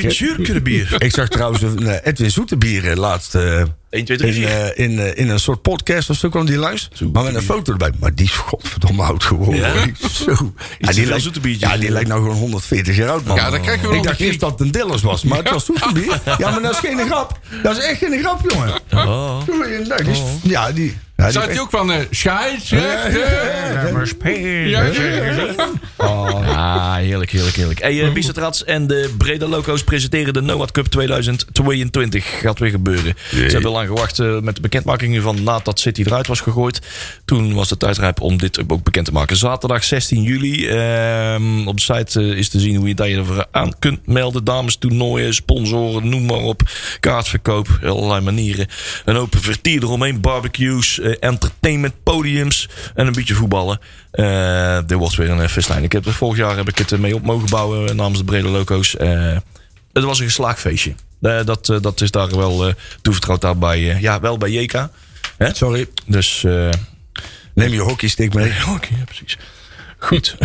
Kulturkureurbier.
Ik zag trouwens een, eh, Edwin Zoetebier eh, laatst eh,
1,
in,
2, 3, 4.
eh, in, eh, in een soort podcast of zo kwam die langs. Maar met een foto erbij. Maar die is godverdomme oud geworden.
Ja?
Zo. Ja,
veel
die, lijkt,
Zoeterbiertjes.
ja, die lijkt nou gewoon 140 jaar oud, man.
Ja, dan krijg je wel
ik
een
dacht
griep.
eerst dat het een Dillers was, maar het was Zoetebier. Ja, maar dat is geen grap. Dat is echt geen grap, jongen.
Oh.
Sorry, nou, die is- Ja, die... Ja, die
Zou die ook van eh scheidsrechter? Ja, ja, ja.
Ah, heerlijk, heerlijk, heerlijk. Hey, eh, Bicep Rats en de Breda Loco's presenteren de NOAD Cup 2022. Gaat weer gebeuren. Ze hebben lang gewacht eh, met de bekendmaking van nadat City eruit was gegooid. Toen was het tijd rijp om dit ook bekend te maken. Zaterdag 16 juli. ehm, op de site eh, is te zien hoe je dat je ervoor aan kunt melden. Dames toernooien, sponsoren, noem maar op. Kaartverkoop, allerlei manieren. Een open vertier eromheen, barbecues, eh, entertainment, podiums en een beetje voetballen. Eh, dit wordt weer een eh, festijn. Ik heb, vorig jaar heb ik het eh, mee op mogen bouwen eh, namens de Brede Loco's. Eh, het was een geslaagd feestje. Eh, dat, eh, dat is daar wel eh toevertrouwd daar bij, eh, ja, wel bij JK. Hè?
Sorry,
Dus, eh
neem je hockeystick mee.
oké, ja, precies. Goed.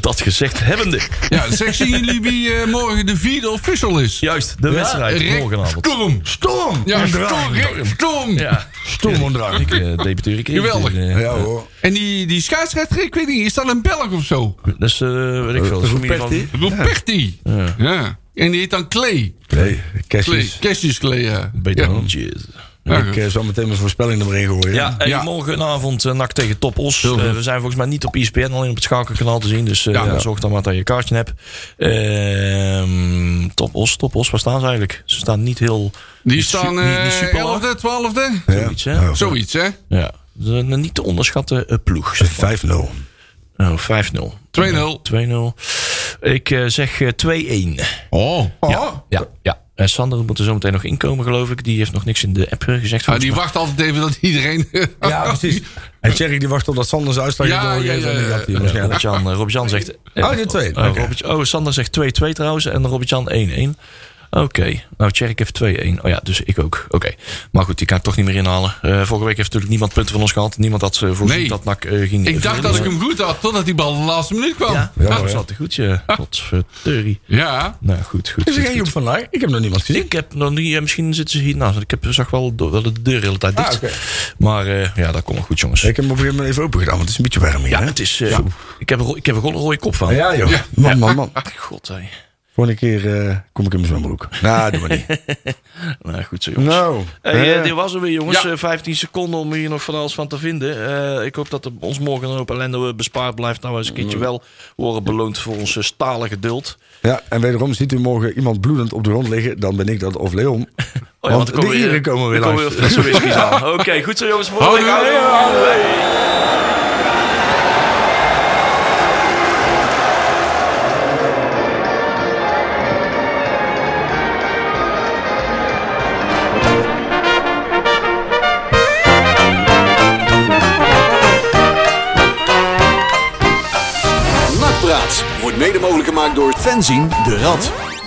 dat gezegd hebbende.
Ja, zeg, zien jullie wie eh, morgen de vierde official is?
Juist, de wedstrijd
Rick
morgenavond.
Storm.
Storm!
Ja,
onderaan.
Storm, Rick Storm.
Ja,
Storm onderaan.
ik eh, debuteer ik eerst.
Geweldig.
Eh,
Ja hoor.
En die, die scheidsrechter, ik weet niet, is dat een Belg of zo?
Dat is, eh, weet ik veel. dat is familie van-
Ruperti. Ja. En die heet dan Clay.
Nee, Cassis.
Clay. Kerstjes Clay, ja.
Beter
Ja.
dan Jizz.
Ja,
Ik
goed.
eh, zal meteen mijn voorspelling er maar in gooien.
Ja, en
Ja.
morgenavond eh, NAC tegen Top Os.
Heel goed.
Eh, we zijn volgens mij niet op ESPN, alleen op het schakelkanaal te zien. Dus eh,
Ja.
ja, zorg dan maar dat je een kaartje hebt. Ehm Top Os, Top Os, waar staan ze eigenlijk? Ze staan niet heel...
Die
niet su-
staan
niet- niet
eh
super laag.
11e, 12e.
Ja.
zoiets, hè?
Nou,
Zoiets, hè? 2-0
Ja, dat is een niet te onderschatten eh, ploeg. zeg maar.
5-0.
Oh, 5-0. 2-0. Ik eh, zeg eh, 2-1.
Oh.
Ja.
Ja, ja. Eh, Sander moet er zo meteen nog inkomen, geloof ik. Die heeft nog niks in de app eh, gezegd.
Ah,
volgens
die
mij.
wacht altijd even dat iedereen...
Ja, precies. En Thierry die wacht op dat Sanders uitslag
Ja,
doorgeeft
ja, ja,
en die
ja.
had hij waarschijnlijk.
Robert-Jan eh, Robert-Jan zegt... eh,
Oh, die twee.
eh,
Oké.
Robert- oh, Sander zegt 2-2 trouwens. En Robert-Jan 1-1. Oké. Nou, Tjerk heeft 2-1. Oh ja, dus ik ook. Oké. Maar goed, die kan ik toch niet meer inhalen. Eh, vorige week heeft natuurlijk niemand punten van ons gehad. Niemand had eh, voorzien
Nee.
dat NAC eh, ging...
Ik dacht dat ik hem goed had, totdat die bal de laatste minuut kwam.
Ja,
Ja.
ja,
Ja,
dat
hoor.
zat goed, ja. Godverdorie. Nou, goed, goed.
Is er
goed,
geen
goed.
Joep van Laar? Ik heb nog niemand gezien.
Ik heb nog niet, ja, misschien zitten ze hiernaast. want Ik heb, zag wel, do- wel de deur de hele tijd dicht.
Ah, oké.
Maar eh, ja, dat komt wel goed, jongens.
Ik heb hem op een gegeven moment even open gedaan, want het is een beetje warm hier.
ja,
hè?
het is, eh, ik, heb, er ro- ik heb er gewoon een rode kop van.
Ja, joh. Man, man, man.
God, hé.
Volgende keer eh, kom ik in mijn zwembroek. Nou, doe maar niet.
Nou, goed zo, jongens.
Nou.
Hey, eh,
eh,
dit was hem weer, jongens.
Ja.
Eh, 15 seconden om hier nog van alles van te vinden. Eh, ik hoop dat er ons morgen een hoop ellende eh, bespaard blijft. Nou, we eens een
Mm.
keertje wel worden beloond voor ons eh, stalen geduld.
Ja, en wederom ziet u morgen iemand bloedend op de grond liggen, dan ben ik dat of Leon.
Oh,
want
er
de
weer-
Ieren komen weer
er
langs.
weer flessen whiskies aan. Oké, goed zo, jongens. Morgen.
Houdoe.
Houdoe.
Nakpraat wordt mede mogelijk gemaakt door Fenzin de Rad.